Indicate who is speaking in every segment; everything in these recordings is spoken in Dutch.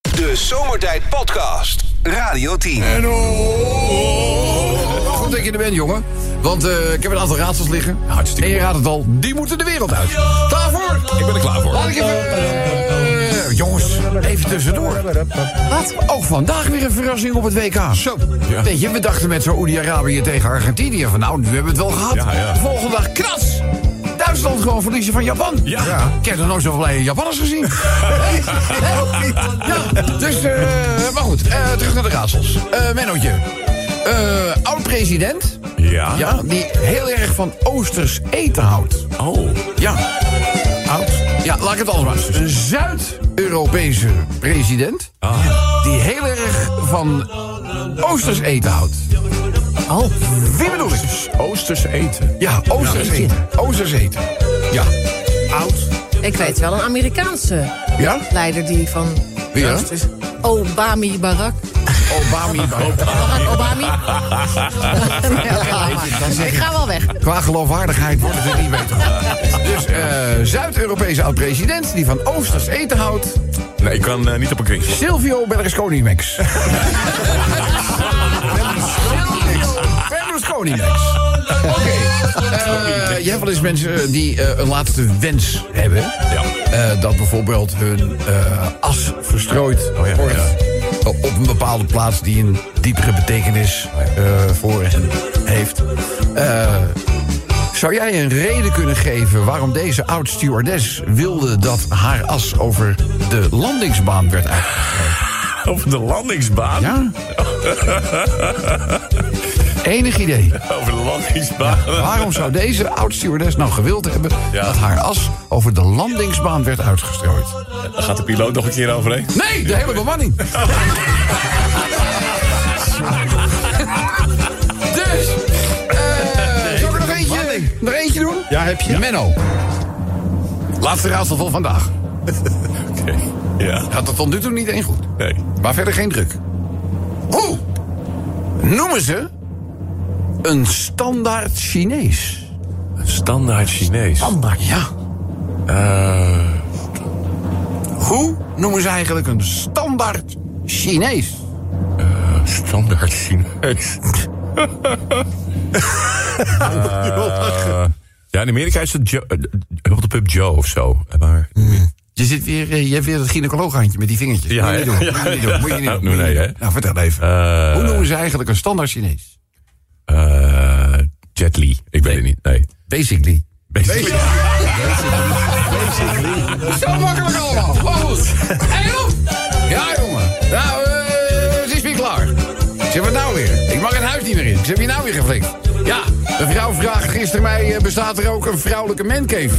Speaker 1: De Zomertijd Podcast. Radio 10.
Speaker 2: En oh. Goed dat je er bent, jongen. Want eh, ik heb een aantal raadsels liggen.
Speaker 3: Hartstikke
Speaker 2: En je raadt het al, die moeten de wereld uit. Klaar voor?
Speaker 3: Ik ben er klaar voor.
Speaker 2: Laat ik even... eh, jongens, even tussendoor. Wat? Ook vandaag weer een verrassing op het WK. Zo.
Speaker 3: Ja.
Speaker 2: Weet je, we dachten met Saoedi-Arabië tegen Argentinië... van nou, nu hebben we het wel gehad.
Speaker 3: Ja, ja.
Speaker 2: De volgende dag, kras! Duitsland gewoon verliezen van Japan.
Speaker 3: Ja.
Speaker 2: Ik heb nog nooit zoveel blije Japanners gezien. Nee, nee, ook niet. ja, dus, eh, maar goed, eh, terug naar de raadsels. Eh Mennootje, Eh, oud-president...
Speaker 3: Ja.
Speaker 2: Ja, die heel erg van Oosters eten houdt.
Speaker 3: Oh.
Speaker 2: Ja. Oud? Ja, laat ik het anders maar. Een Zuid-Europese president.
Speaker 3: Ah.
Speaker 2: Die heel erg van Oosters eten houdt. Oh. Wie bedoel ik?
Speaker 3: Oosters eten.
Speaker 2: Ja, Oosters eten. Oosters eten. Ja. Oud.
Speaker 4: Ik weet wel een Amerikaanse
Speaker 2: Ja?
Speaker 4: leider die van...
Speaker 2: Wie, hè?
Speaker 4: Oost is. Obami Barak.
Speaker 2: Obama.
Speaker 4: Barak Obami. Ik ga wel weg.
Speaker 2: Qua geloofwaardigheid wordt het er niet beter. van. Dus eh, Zuid-Europese oud-president die van Oosters eten houdt.
Speaker 3: Nee, ik kan eh, niet op een kringetje.
Speaker 2: Silvio Berlusconi Max. Berlusconi Max. Oké. eh, je hebt wel eens mensen eh, die eh, een laatste wens hebben.
Speaker 3: Ja.
Speaker 2: Eh, dat bijvoorbeeld hun eh, as verstrooid
Speaker 3: Oh ja,
Speaker 2: wordt.
Speaker 3: ja.
Speaker 2: eh, Op een bepaalde plaats die een diepere betekenis
Speaker 3: Oh
Speaker 2: eh, voor hen heeft. Eh, zou jij een reden kunnen geven waarom deze oud stewardess wilde dat haar as over de landingsbaan werd uitgestrooid?
Speaker 3: Over de landingsbaan.
Speaker 2: Ja? Enig idee.
Speaker 3: Over de landingsbaan.
Speaker 2: Waarom zou deze oud-stewardess nou gewild hebben...
Speaker 3: Ja.
Speaker 2: dat haar as over de landingsbaan werd uitgestrooid?
Speaker 3: Daar gaat de piloot nog een keer overheen.
Speaker 2: Nee, de hele bemanning. dus, eh zullen we er nog eentje, nog eentje doen?
Speaker 3: Ja, heb je.
Speaker 2: Menno. Laatste raadsel van vandaag.
Speaker 3: Oké. Ja.
Speaker 2: Had het tot nu toe niet één goed.
Speaker 3: Nee.
Speaker 2: Maar verder geen druk. Hoe noemen ze een standaard Chinees?
Speaker 3: Standaard Chinees.
Speaker 2: Standaard, ja.
Speaker 3: Eh,
Speaker 2: Hoe noemen ze eigenlijk een standaard Chinees?
Speaker 3: standaard Chinees. Eh, ja, in Amerika is het Joe, eh, eh, op de pub Joe of zo. Eh, Maar,
Speaker 2: Je, zit weer, eh, je hebt weer dat gynaecolooghandje met die vingertjes.
Speaker 3: Ja,
Speaker 2: moet je niet
Speaker 3: ja,
Speaker 2: doen.
Speaker 3: ja,
Speaker 2: moet je niet doen. Moet je niet
Speaker 3: ja.
Speaker 2: doen.
Speaker 3: Nee,
Speaker 2: moet je niet
Speaker 3: hè?
Speaker 2: doen. Nou, vertel even.
Speaker 3: Eh.
Speaker 2: Hoe noemen ze eigenlijk een standaard Chinees?
Speaker 3: eh, Jet Li. Ik weet het niet. Nee.
Speaker 2: Basically.
Speaker 3: Basically.
Speaker 2: Zo makkelijk allemaal. Maar goed. En op. Ja, jongen. Nou, eh, het is weer klaar. Ik zeg, wat nou weer? Ik mag het huis niet meer in. Ik heb je nou weer geflikt. Ja, een vrouw vraagt gisteren mij... eh, bestaat er ook een vrouwelijke mancave?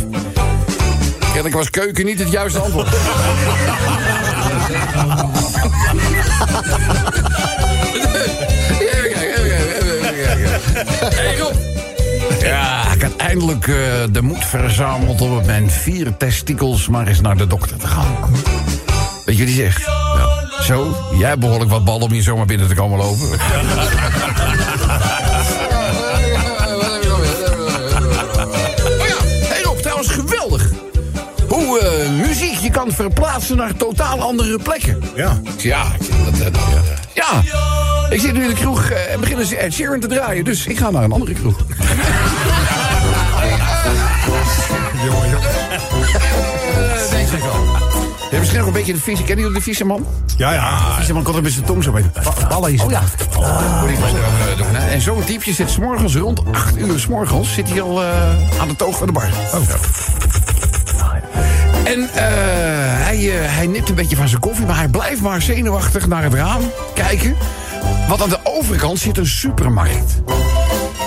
Speaker 2: Kennelijk was keuken niet het juiste antwoord. Even kijken, even kijken, even kijken. Hey, Rob. Ja, ik had eindelijk eh, de moed verzameld om met mijn vier testikels maar eens naar de dokter te gaan. Weet je wat die zegt? Ja. Zo, jij hebt behoorlijk wat bal om hier zomaar binnen te komen lopen. Oh ja, hey Rob, trouwens geweldig. Hoe eh, muziek je kan verplaatsen naar totaal andere plekken.
Speaker 3: Ja.
Speaker 2: Ik zei, Ja, ik zeg, dat, dat, dat- eh, ja. Ik zit nu in de kroeg eh, en beginnen ze Ed Sheeran te draaien. Dus ik ga naar een andere kroeg. Eh, Denk ik al. Je hebt misschien nog een beetje de vieze... Ken je de vieze man?
Speaker 3: Ja, ja.
Speaker 2: Vieze man kon er met zijn tong zo bij. Ballen is Oh ja. Moet ik maar zo, eh, doen, hè. En zo'n diepje zit s'morgens rond 8 uur s'morgens... zit hij al eh, aan de toog van de bar. En eh, hij, eh, hij nipt een beetje van zijn koffie, maar hij blijft maar zenuwachtig naar het raam kijken. Want aan de overkant zit een supermarkt.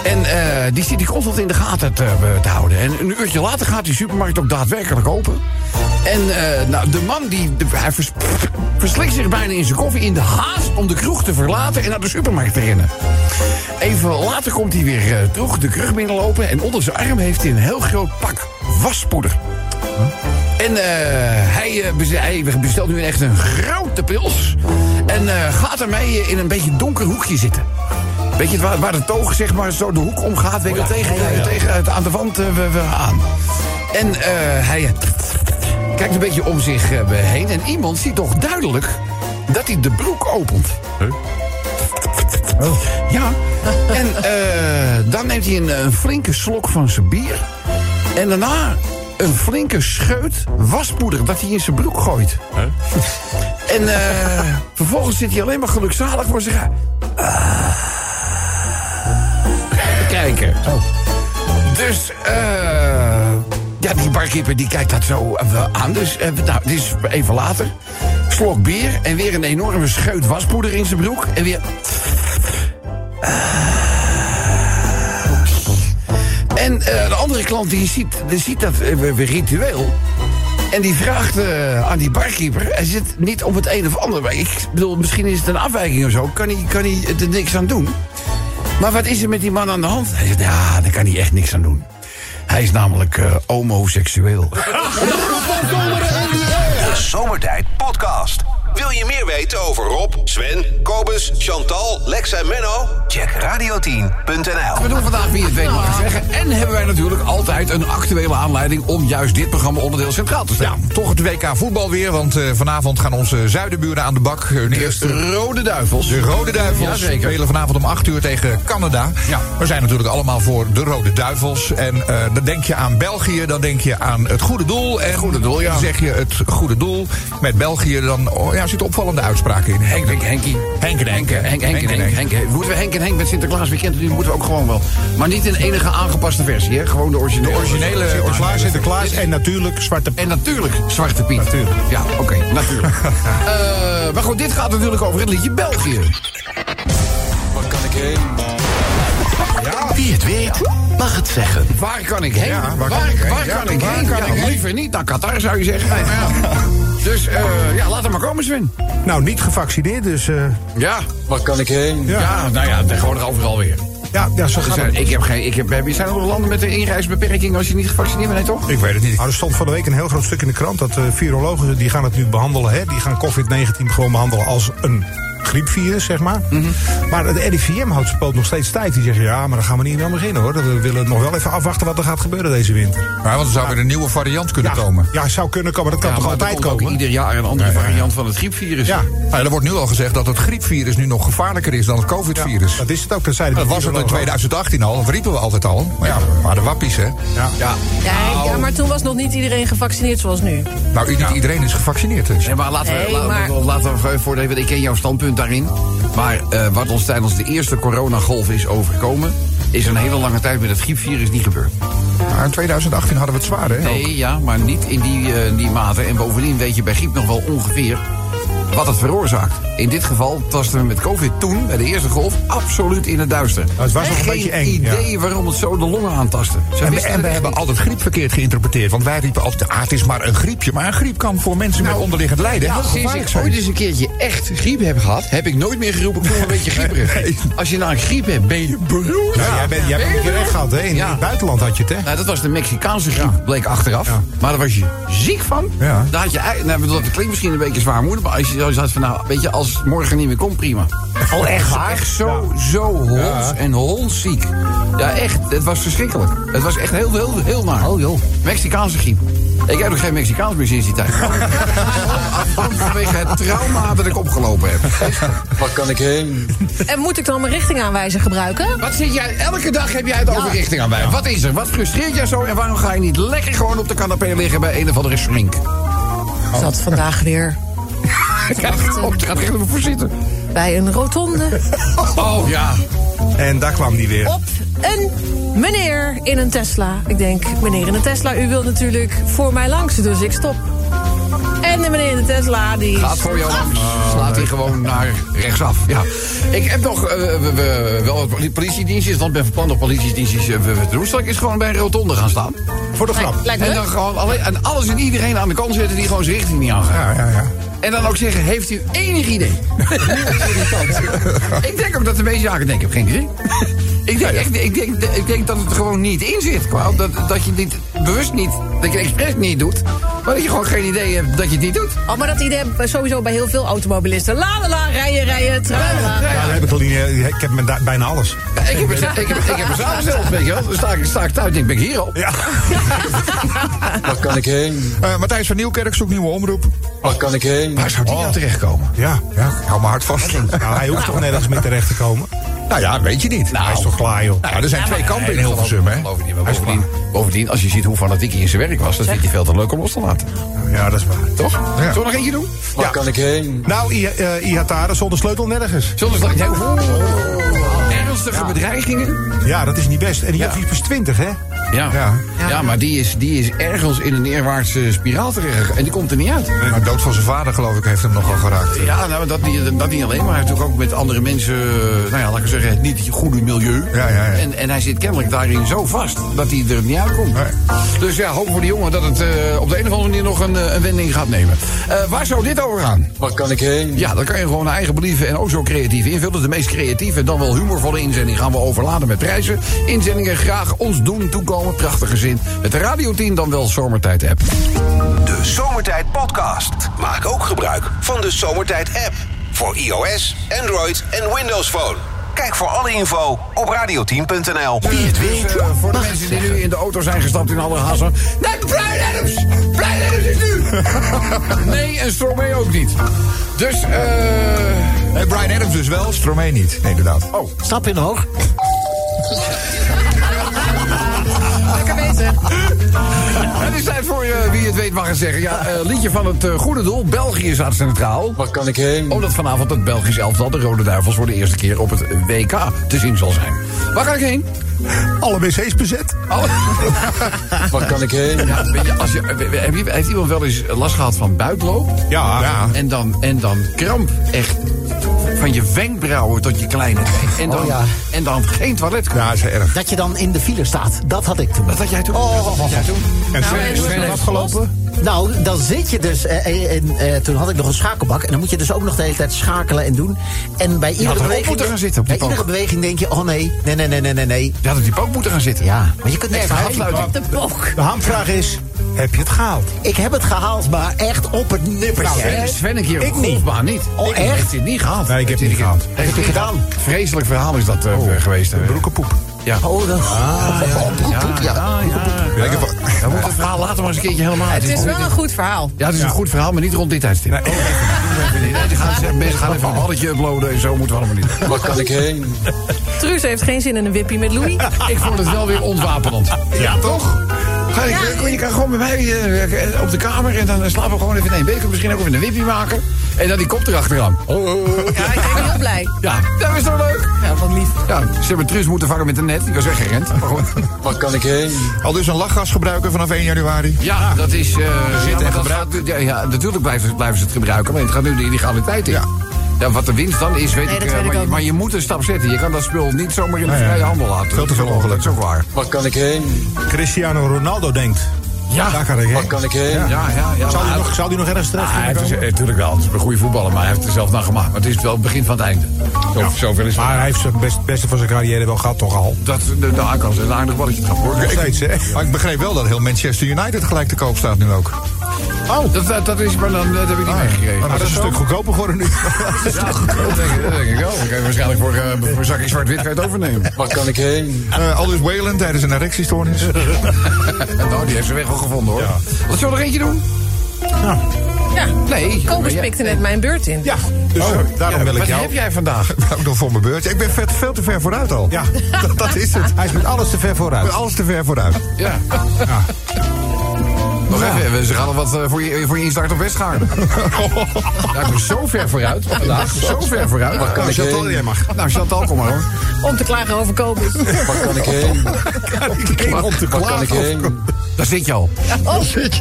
Speaker 2: En eh, die zit die constant in de gaten te, eh, te houden. En een uurtje later gaat die supermarkt ook daadwerkelijk open. En eh, nou, de man die. de- hij vers- verslikt zich bijna in zijn koffie in de haast om de kroeg te verlaten en naar de supermarkt te rennen. Even later komt hij weer eh, terug de kroeg binnenlopen. En onder zijn arm heeft hij een heel groot pak waspoeder. En eh, hij, eh, bes- hij bestelt nu echt een grote pils. En eh, gaat ermee eh, in een beetje donker hoekje zitten. Weet je, waar, waar de toog zeg maar zo de hoek omgaat, weet je wel, tegen, tegen het- aan de wand eh, we- we aan. En eh, hij eh, kijkt een beetje om zich eh, heen. En iemand ziet toch duidelijk dat hij de broek opent. Oh.
Speaker 3: Huh?
Speaker 2: Ja. En eh, dan neemt hij een, een flinke slok van zijn bier. En daarna een flinke scheut waspoeder dat hij in zijn broek gooit. En eh, vervolgens zit hij alleen maar gelukzalig voor zich aan. Ah. Kijken. Dus, eh. ja, die barkeeper die kijkt dat zo eh, wel aan. Dus, eh, nou, dit is even later. Slok bier en weer een enorme scheut waspoeder in zijn broek. En weer. Ah. En eh, de andere klant die ziet, die ziet dat eh, weer- weer ritueel. En die vraagt eh, aan die barkeeper. Hij zit niet op het een of ander. Maar ik bedoel, misschien is het een afwijking of zo. Kan hij, kan hij er niks aan doen? Maar wat is er met die man aan de hand? Hij zegt, ja, daar kan hij echt niks aan doen. Hij is namelijk eh, homoseksueel.
Speaker 1: De Zomertijd Podcast. Wil je meer weten over Rob, Sven, Kobus, Chantal, Lex en Menno? Check radio10.nl.
Speaker 2: We doen vandaag wie het weet mag het zeggen. En hebben wij natuurlijk altijd een actuele aanleiding... om juist dit programma onderdeel centraal te
Speaker 5: Ja,
Speaker 2: stellen.
Speaker 5: toch het WK voetbal weer, want eh, vanavond gaan onze zuidenburen aan de bak. Hun eerste
Speaker 2: Rode duivels.
Speaker 5: de Rode Duivels
Speaker 2: Jazeker.
Speaker 5: spelen vanavond om 8 uur tegen Canada.
Speaker 2: Ja.
Speaker 5: We zijn natuurlijk allemaal voor de Rode Duivels. En eh, dan denk je aan België, dan denk je aan het goede doel. En
Speaker 2: goede doel, ja.
Speaker 5: dan zeg je het goede doel met België, dan oh, ja, zitten opvallende uitspraken in.
Speaker 2: Henk, Henk, Henkie.
Speaker 5: Henk en Henk.
Speaker 2: Henk, Henk, Henk,
Speaker 5: Henk en
Speaker 2: Henk,
Speaker 5: Henk.
Speaker 2: Henk. Moeten we Henk en Henk met Sinterklaas weekend doen? Moeten we ook gewoon wel. Maar niet in enige aangepaste versie, hè? Gewoon de originele.
Speaker 5: originele
Speaker 6: Sinterklaas, Sinterklaas en natuurlijk Zwarte Piet.
Speaker 2: En natuurlijk Zwarte Piet.
Speaker 6: Natuurlijk.
Speaker 2: Ja, oké, natuurlijk. Eh, maar goed, dit gaat natuurlijk over het liedje België.
Speaker 7: Wie het weet, mag het zeggen.
Speaker 2: Waar kan ik heen?
Speaker 5: Ja,
Speaker 2: waar, kan ik, waar kan ik heen? Ja, Liever niet naar Qatar, zou je zeggen. Dus eh, ja, laat hem maar komen, Sven.
Speaker 6: Nou, niet gevaccineerd, dus... eh,
Speaker 2: Ja.
Speaker 8: Waar kan ik heen?
Speaker 2: ja. nou ja, tegenwoordig overal weer.
Speaker 6: ja, ja, zo
Speaker 2: Er
Speaker 6: gaat
Speaker 2: zijn,
Speaker 6: het.
Speaker 2: ik heb geen, ik heb, zijn er nog landen met een inreisbeperking als je niet gevaccineerd bent, nee, toch?
Speaker 5: Ik weet het niet.
Speaker 6: Nou, er stond van de week een heel groot stuk in de krant dat eh, virologen die gaan het nu behandelen. Hè? Die gaan COVID-19 gewoon behandelen als een griepvirus, zeg maar.
Speaker 5: Mhm.
Speaker 6: Maar het RIVM houdt zijn poot nog steeds stijf. Die zeggen, ja, maar daar gaan we niet meer aan beginnen, hoor. We willen nog wel even afwachten wat er gaat gebeuren deze winter.
Speaker 5: Maar want er zou weer een nieuwe variant kunnen
Speaker 6: Ja,
Speaker 5: komen.
Speaker 6: Ja, zou kunnen komen. Dat kan toch
Speaker 2: maar er
Speaker 6: altijd
Speaker 2: komt ook
Speaker 6: komen?
Speaker 2: ieder jaar een andere variant van het griepvirus.
Speaker 6: Ja,
Speaker 5: Nou, er wordt nu al gezegd dat het griepvirus nu nog gevaarlijker is dan het COVID-virus.
Speaker 6: dat is het ook. Dat, zeiden
Speaker 5: Dat
Speaker 6: die
Speaker 5: was het in
Speaker 6: virologen ook.
Speaker 5: 2018 al, dat riepen we altijd al. Maar ja, we waren wappies, hè?
Speaker 2: Ja.
Speaker 4: Ja, ja, maar toen was nog niet iedereen gevaccineerd zoals nu.
Speaker 5: Nou, niet iedereen is gevaccineerd. Dus.
Speaker 2: Nee, maar laten we,
Speaker 4: Nee,
Speaker 2: laten, we-
Speaker 4: maar-
Speaker 2: laten we even voor- want ik ken jouw standpunt daarin. Maar eh, wat ons tijdens de eerste coronagolf is overkomen... is een hele lange tijd met het griepvirus niet gebeurd.
Speaker 5: Maar in 2018 hadden we het zwaar, hè?
Speaker 2: Nee, ja, maar niet in die, eh, die mate. En bovendien weet je bij griep nog wel ongeveer wat het veroorzaakt. In dit geval tasten we met covid toen, bij de eerste golf, absoluut in Nou, het duister.
Speaker 6: het was nog een
Speaker 2: Geen
Speaker 6: beetje eng, ja.
Speaker 2: idee waarom het zo de longen aantastte. Ze
Speaker 5: En, we-
Speaker 2: wisten
Speaker 5: en we
Speaker 2: het echt
Speaker 5: hebben
Speaker 2: niet.
Speaker 5: altijd griep verkeerd geïnterpreteerd. Want wij riepen altijd, ah, het is maar een griepje. Maar een griep kan voor mensen met onderliggend lijden heel
Speaker 2: Sinds
Speaker 5: gevaarlijk
Speaker 2: ik
Speaker 5: zijn.
Speaker 2: ooit eens een keertje echt griep heb gehad, heb ik nooit meer geroepen, ik voel me een beetje grieperig. Als je nou een griep hebt, ben je Nou beroerd.
Speaker 6: Ja, jij bent, jij
Speaker 2: Ben
Speaker 6: bent een
Speaker 2: je
Speaker 6: keer
Speaker 2: beroerd?
Speaker 6: weg gehad, hè? In
Speaker 2: Ja.
Speaker 6: het buitenland had je het, hè?
Speaker 2: Nou, dat was de Mexicaanse griep, bleek achteraf. Maar daar was je ziek van.
Speaker 5: Ja.
Speaker 2: Daar had je, ei- nou, ik bedoel, dat klinkt misschien een beetje zwaarmoedig... maar als je zoiets had van, nou, weet je, als het morgen niet meer komt, prima. Al echt waar? Echt zo, zo hons en hondsziek. Ja, echt, het was verschrikkelijk. Het was echt heel, heel, heel naar. Oh, joh. Mexicaanse griep. Ik heb nog geen Mexicaans meer sinds die tijd. Gewoon Vanwege het trauma dat ik opgelopen heb.
Speaker 8: Waar kan ik heen?
Speaker 4: En moet ik dan mijn richtingaanwijzer gebruiken?
Speaker 2: Wat zit jij, elke dag heb jij het over
Speaker 4: Ja.
Speaker 2: richting aan mij. Wat is er? Wat frustreert jou zo? En waarom ga je niet lekker gewoon op de canapé liggen bij een of andere shrink?
Speaker 4: Zat vandaag weer
Speaker 2: Oh, het gaat echt even voor zitten.
Speaker 4: bij een rotonde
Speaker 2: Oh ja.
Speaker 6: En daar kwam die weer.
Speaker 4: op een meneer in een Tesla. Ik denk, meneer in een Tesla, u wilt natuurlijk voor mij langs, dus ik stop. En de meneer in de Tesla, die...
Speaker 2: Gaat voor jou langs. Slaat hij gewoon naar rechtsaf. Ja. Ik heb nog eh, we- we- wel wat politiedienstjes, want ik ben verpand op politiedienstjes. eh, we- we- doen. Zal ik eens gewoon bij een rotonde gaan staan?
Speaker 6: Voor de grap.
Speaker 4: Lijkt me
Speaker 2: En dan
Speaker 4: leuk.
Speaker 2: gewoon alleen, en alles en iedereen aan de kant zetten die gewoon zijn richting niet aangaat.
Speaker 5: Ja, ja, ja.
Speaker 2: En dan ook zeggen, heeft u enig idee? Irritant. ik denk ook dat de meeste zaken denken, ik heb geen idee. Ik denk, echt- ik, denk, ik denk dat het gewoon niet in zit. Kwaal. Dat, dat je dit bewust niet, dat je het expres niet doet. Maar dat je gewoon geen idee hebt dat je het niet doet.
Speaker 4: Oh, maar dat idee heb ik sowieso bij heel veel automobilisten. La la la, rijden, rijden, tralala.
Speaker 6: Ja, daar heb ik al niet, eh, ik heb me da- bijna alles.
Speaker 2: Ja, ik, heb het, ik, heb, ik heb het zelf zelf, weet je wel. Dan sta ik, sta ik thuis en denk, ben ik hier al?
Speaker 6: Ja.
Speaker 8: Waar kan ik heen?
Speaker 5: Eh, Matthijs van Nieuwkerk zoekt nieuwe omroep.
Speaker 8: Waar kan ik heen?
Speaker 2: Waar zou die nou terechtkomen?
Speaker 6: Ja.
Speaker 5: Ja, Oh. hou maar hard vast.
Speaker 6: Nou, hij hoeft toch nergens mee terecht te komen?
Speaker 5: Nou ja, weet je niet.
Speaker 6: Hij is toch klaar, joh.
Speaker 5: Nou, er zijn twee kampen in Hilversum, hè?
Speaker 2: Bovendien, maar bovendien, bovendien, als je ziet hoe fanatiek hij in zijn werk was... dan vind je veel te leuk om los te laten.
Speaker 6: Ja, dat is waar.
Speaker 2: Toch? Zullen we nog eentje doen?
Speaker 8: Waar kan ik heen?
Speaker 6: Nou, I- eh, Ihatare zonder sleutel nergens.
Speaker 2: Zullen we straks... Oh, Ernstige bedreigingen?
Speaker 6: Ja, dat is niet best. En die ja. is pas 20, hè?
Speaker 2: Ja. ja. maar die is, die is ergens in een neerwaartse spiraal terechtgekomen. En die komt er niet uit.
Speaker 5: Maar dood van zijn vader, geloof ik, heeft hem nogal geraakt.
Speaker 2: Ja, nou, dat, niet, dat niet alleen, maar hij heeft natuurlijk ook met andere mensen, eh, nou ja, laat ik zeggen, het niet goede milieu.
Speaker 5: Ja, ja, ja.
Speaker 2: En, en hij zit kennelijk daarin zo vast dat hij er niet uitkomt. Dus ja, hoop voor die jongen dat het eh, op de een of andere manier nog een, eh, een wending gaat nemen. Eh, waar zou dit over gaan?
Speaker 8: Waar kan ik heen?
Speaker 2: Ja, dan kan je gewoon naar eigen believen en ook zo creatief invullen. De meest creatieve en dan wel humorvolle inzending gaan we overladen met prijzen. Inzendingen graag ons doen toekomen. Prachtige zin. Het radioteam dan wel zomertijd app.
Speaker 1: De Zomertijd Podcast. Maak ook gebruik van de Zomertijd app. Voor iOS, Android en Windows Phone. Kijk voor alle info op radioteam.nl.
Speaker 2: Wie het weet. Eh, voor de mensen die nu in de auto zijn gestapt in alle hassen. Nee, Brian Adams! Brian Adams is nu! nee, en Stromae ook niet. Dus, eh.
Speaker 5: Nee, Brian Adams dus wel, Stromae niet. Nee, inderdaad. Oh.
Speaker 7: Stap in hoog.
Speaker 4: Lekker bezig.
Speaker 2: het is tijd voor eh, wie het weet mag het zeggen. Ja, eh, liedje van het eh, goede doel. België staat centraal.
Speaker 8: Waar kan ik heen?
Speaker 2: Omdat vanavond het Belgisch elftal, de Rode Duivels, voor de eerste keer op het WK te zien zal zijn. Waar ga ik heen?
Speaker 6: Alle wc's bezet.
Speaker 8: Waar kan ik heen?
Speaker 2: Ja, weet je, als je, heb je- heeft iemand wel eens last gehad van buikloop?
Speaker 6: Ja. ja.
Speaker 2: En dan, en dan kramp echt van je wenkbrauwen tot je kleine teen. En dan,
Speaker 7: Oh ja.
Speaker 2: en dan geen toilet.
Speaker 5: Ja, is erg.
Speaker 7: Dat je dan in de file staat. Dat had ik toen.
Speaker 2: Dat had jij toen.
Speaker 7: Oh,
Speaker 2: Dat had jij toen.
Speaker 6: En
Speaker 4: Nou,
Speaker 6: Sven
Speaker 4: en
Speaker 6: is
Speaker 4: hoe
Speaker 6: Sven
Speaker 4: blijft
Speaker 6: afgelopen?
Speaker 7: Nou, dan zit je dus. eh, eh, en, eh, toen had ik nog een schakelbak. En dan moet je dus ook nog de hele tijd schakelen en doen. En bij iedere,
Speaker 2: erop
Speaker 7: beweging,
Speaker 2: moeten gaan zitten op die
Speaker 7: bij iedere
Speaker 2: bank.
Speaker 7: beweging denk je: oh nee, nee, nee, nee, nee, nee. nee.
Speaker 2: Je had op die pook moeten gaan zitten.
Speaker 7: Ja, maar je kunt nergens
Speaker 2: Extra
Speaker 7: heen.
Speaker 2: afsluiting.
Speaker 4: De boog.
Speaker 6: De hamvraag is, heb je het gehaald?
Speaker 7: Ik heb het gehaald, maar echt op het nippertje.
Speaker 2: Nou, Sven,
Speaker 7: hè.
Speaker 2: Sven een keer op
Speaker 7: Ik
Speaker 2: de
Speaker 7: niet.
Speaker 2: golfbaan niet.
Speaker 7: Oh,
Speaker 2: Ik
Speaker 7: echt?
Speaker 2: Heeft hij het niet gehaald?
Speaker 6: Nee, ik heb
Speaker 2: Heeft hij
Speaker 6: niet
Speaker 2: het
Speaker 6: gehaald.
Speaker 2: Heeft hij het gedaan? Vreselijk verhaal is dat eh, geweest. eh.
Speaker 6: Broekenpoep.
Speaker 2: Ja. Ah,
Speaker 7: Oh, dat.
Speaker 2: Ja, ja, ja.
Speaker 5: Ja, ik heb-
Speaker 2: Dan moet het verhaal later maar eens een keertje helemaal
Speaker 4: Het is wel een goed verhaal.
Speaker 2: Ja, het is een goed verhaal, maar niet rond dit tijdstip. Nee, die gaan, ze- mensen gaan even een balletje uploaden en zo moeten we allemaal niet. doen.
Speaker 8: Waar kan ik heen?
Speaker 4: Truus heeft geen zin in een wippie met Louis.
Speaker 2: Ik vond het wel weer ontwapenend. Ja, toch? Ga je, je kan gewoon bij mij eh, op de kamer en dan slapen we gewoon even in één beker. Misschien ook even een wippie maken. En dan die kop erachteraan.
Speaker 4: Ja, ik ben heel blij.
Speaker 2: Ja, dat is toch leuk?
Speaker 4: Ja, wat lief.
Speaker 2: Ja, ze hebben Truus moeten vangen met een net. Die was weggerend. Maar goed.
Speaker 8: Waar kan ik heen?
Speaker 5: Al dus een lachgas gebruiken vanaf 1 januari.
Speaker 2: Ja, dat is... eh ja, maar dat gaat- ja, ja, natuurlijk blijven, ze- blijven ze het gebruiken, maar het gaat nu de illegaliteit in. Ja. wat de winst dan is, weet
Speaker 4: Nee,
Speaker 2: ik,
Speaker 4: dat
Speaker 2: eh,
Speaker 4: weet ik
Speaker 2: maar,
Speaker 4: ook
Speaker 2: je, maar
Speaker 4: niet.
Speaker 2: je moet een stap zetten. Je kan dat spul niet zomaar in de vrije handel laten.
Speaker 5: Veel te veel
Speaker 2: Dat is ook waar.
Speaker 8: Waar kan ik heen?
Speaker 6: Cristiano Ronaldo denkt.
Speaker 2: Ja.
Speaker 6: Daar kan ik
Speaker 8: Waar
Speaker 6: heen.
Speaker 8: kan ik heen?
Speaker 2: Ja, ja, ja.
Speaker 6: Zou
Speaker 2: maar
Speaker 6: die,
Speaker 2: hij-
Speaker 6: nog, zou die nog ergens terecht
Speaker 2: Ah, hij
Speaker 6: kunnen
Speaker 2: heeft
Speaker 6: komen?
Speaker 2: er- eh, natuurlijk wel. Het is een goede voetballer, maar hij heeft er zelf naar gemaakt. Maar het is wel het begin van het einde. Zo, Zoveel is het.
Speaker 6: Maar hij heeft zijn best, beste van zijn carrière wel gehad, toch al?
Speaker 2: Dat de, de aankant is een aardig balletje gaan worden.
Speaker 6: Nog steeds, hè?
Speaker 5: Maar ik begreep wel dat heel Manchester United gelijk te koop staat nu ook. Ah,
Speaker 2: Oh, dat, dat, dat is, maar dan eh, dat heb ik niet meegekregen.
Speaker 6: Maar dat is een stuk goedkoper geworden nu.
Speaker 2: Ja, dat denk ik- dat denk ik wel. Dan kan je waarschijnlijk voor, eh, voor een zakje zwart-wit kan je het overnemen.
Speaker 8: Waar kan ik heen?
Speaker 5: Eh al dus Whalen tijdens een erectiestoornis.
Speaker 2: En nou, die heeft zijn weg wel gevonden hoor. Wat zullen we er eentje doen?
Speaker 4: Ja,
Speaker 2: Nee.
Speaker 4: Kobus
Speaker 2: Maar
Speaker 4: pikte net mijn beurt in.
Speaker 6: Ja, dus eh, daarom
Speaker 2: ja,
Speaker 6: wil ik
Speaker 2: wat
Speaker 6: jou.
Speaker 2: heb jij vandaag?
Speaker 5: Ook nog voor mijn beurt. Ik ben vet, veel te ver vooruit al.
Speaker 6: Ja.
Speaker 5: dat, dat is het.
Speaker 6: Hij is met alles te ver
Speaker 5: Ik
Speaker 6: vooruit.
Speaker 5: ben alles te ver vooruit.
Speaker 2: Ja. Nog even, ze gaan al wat eh, voor je, voor je instart op Westgaarden. Daar kom zo ver vooruit. Vandaag, zo ver vooruit.
Speaker 8: Waar kan
Speaker 2: Nou,
Speaker 8: ik
Speaker 2: Chantal,
Speaker 8: heen?
Speaker 2: jij mag. Nou, Chantal, kom maar hoor.
Speaker 4: Om te klagen over Kobus.
Speaker 8: Waar kan ik heen? Waar kan ik heen?
Speaker 2: Daar zit je al.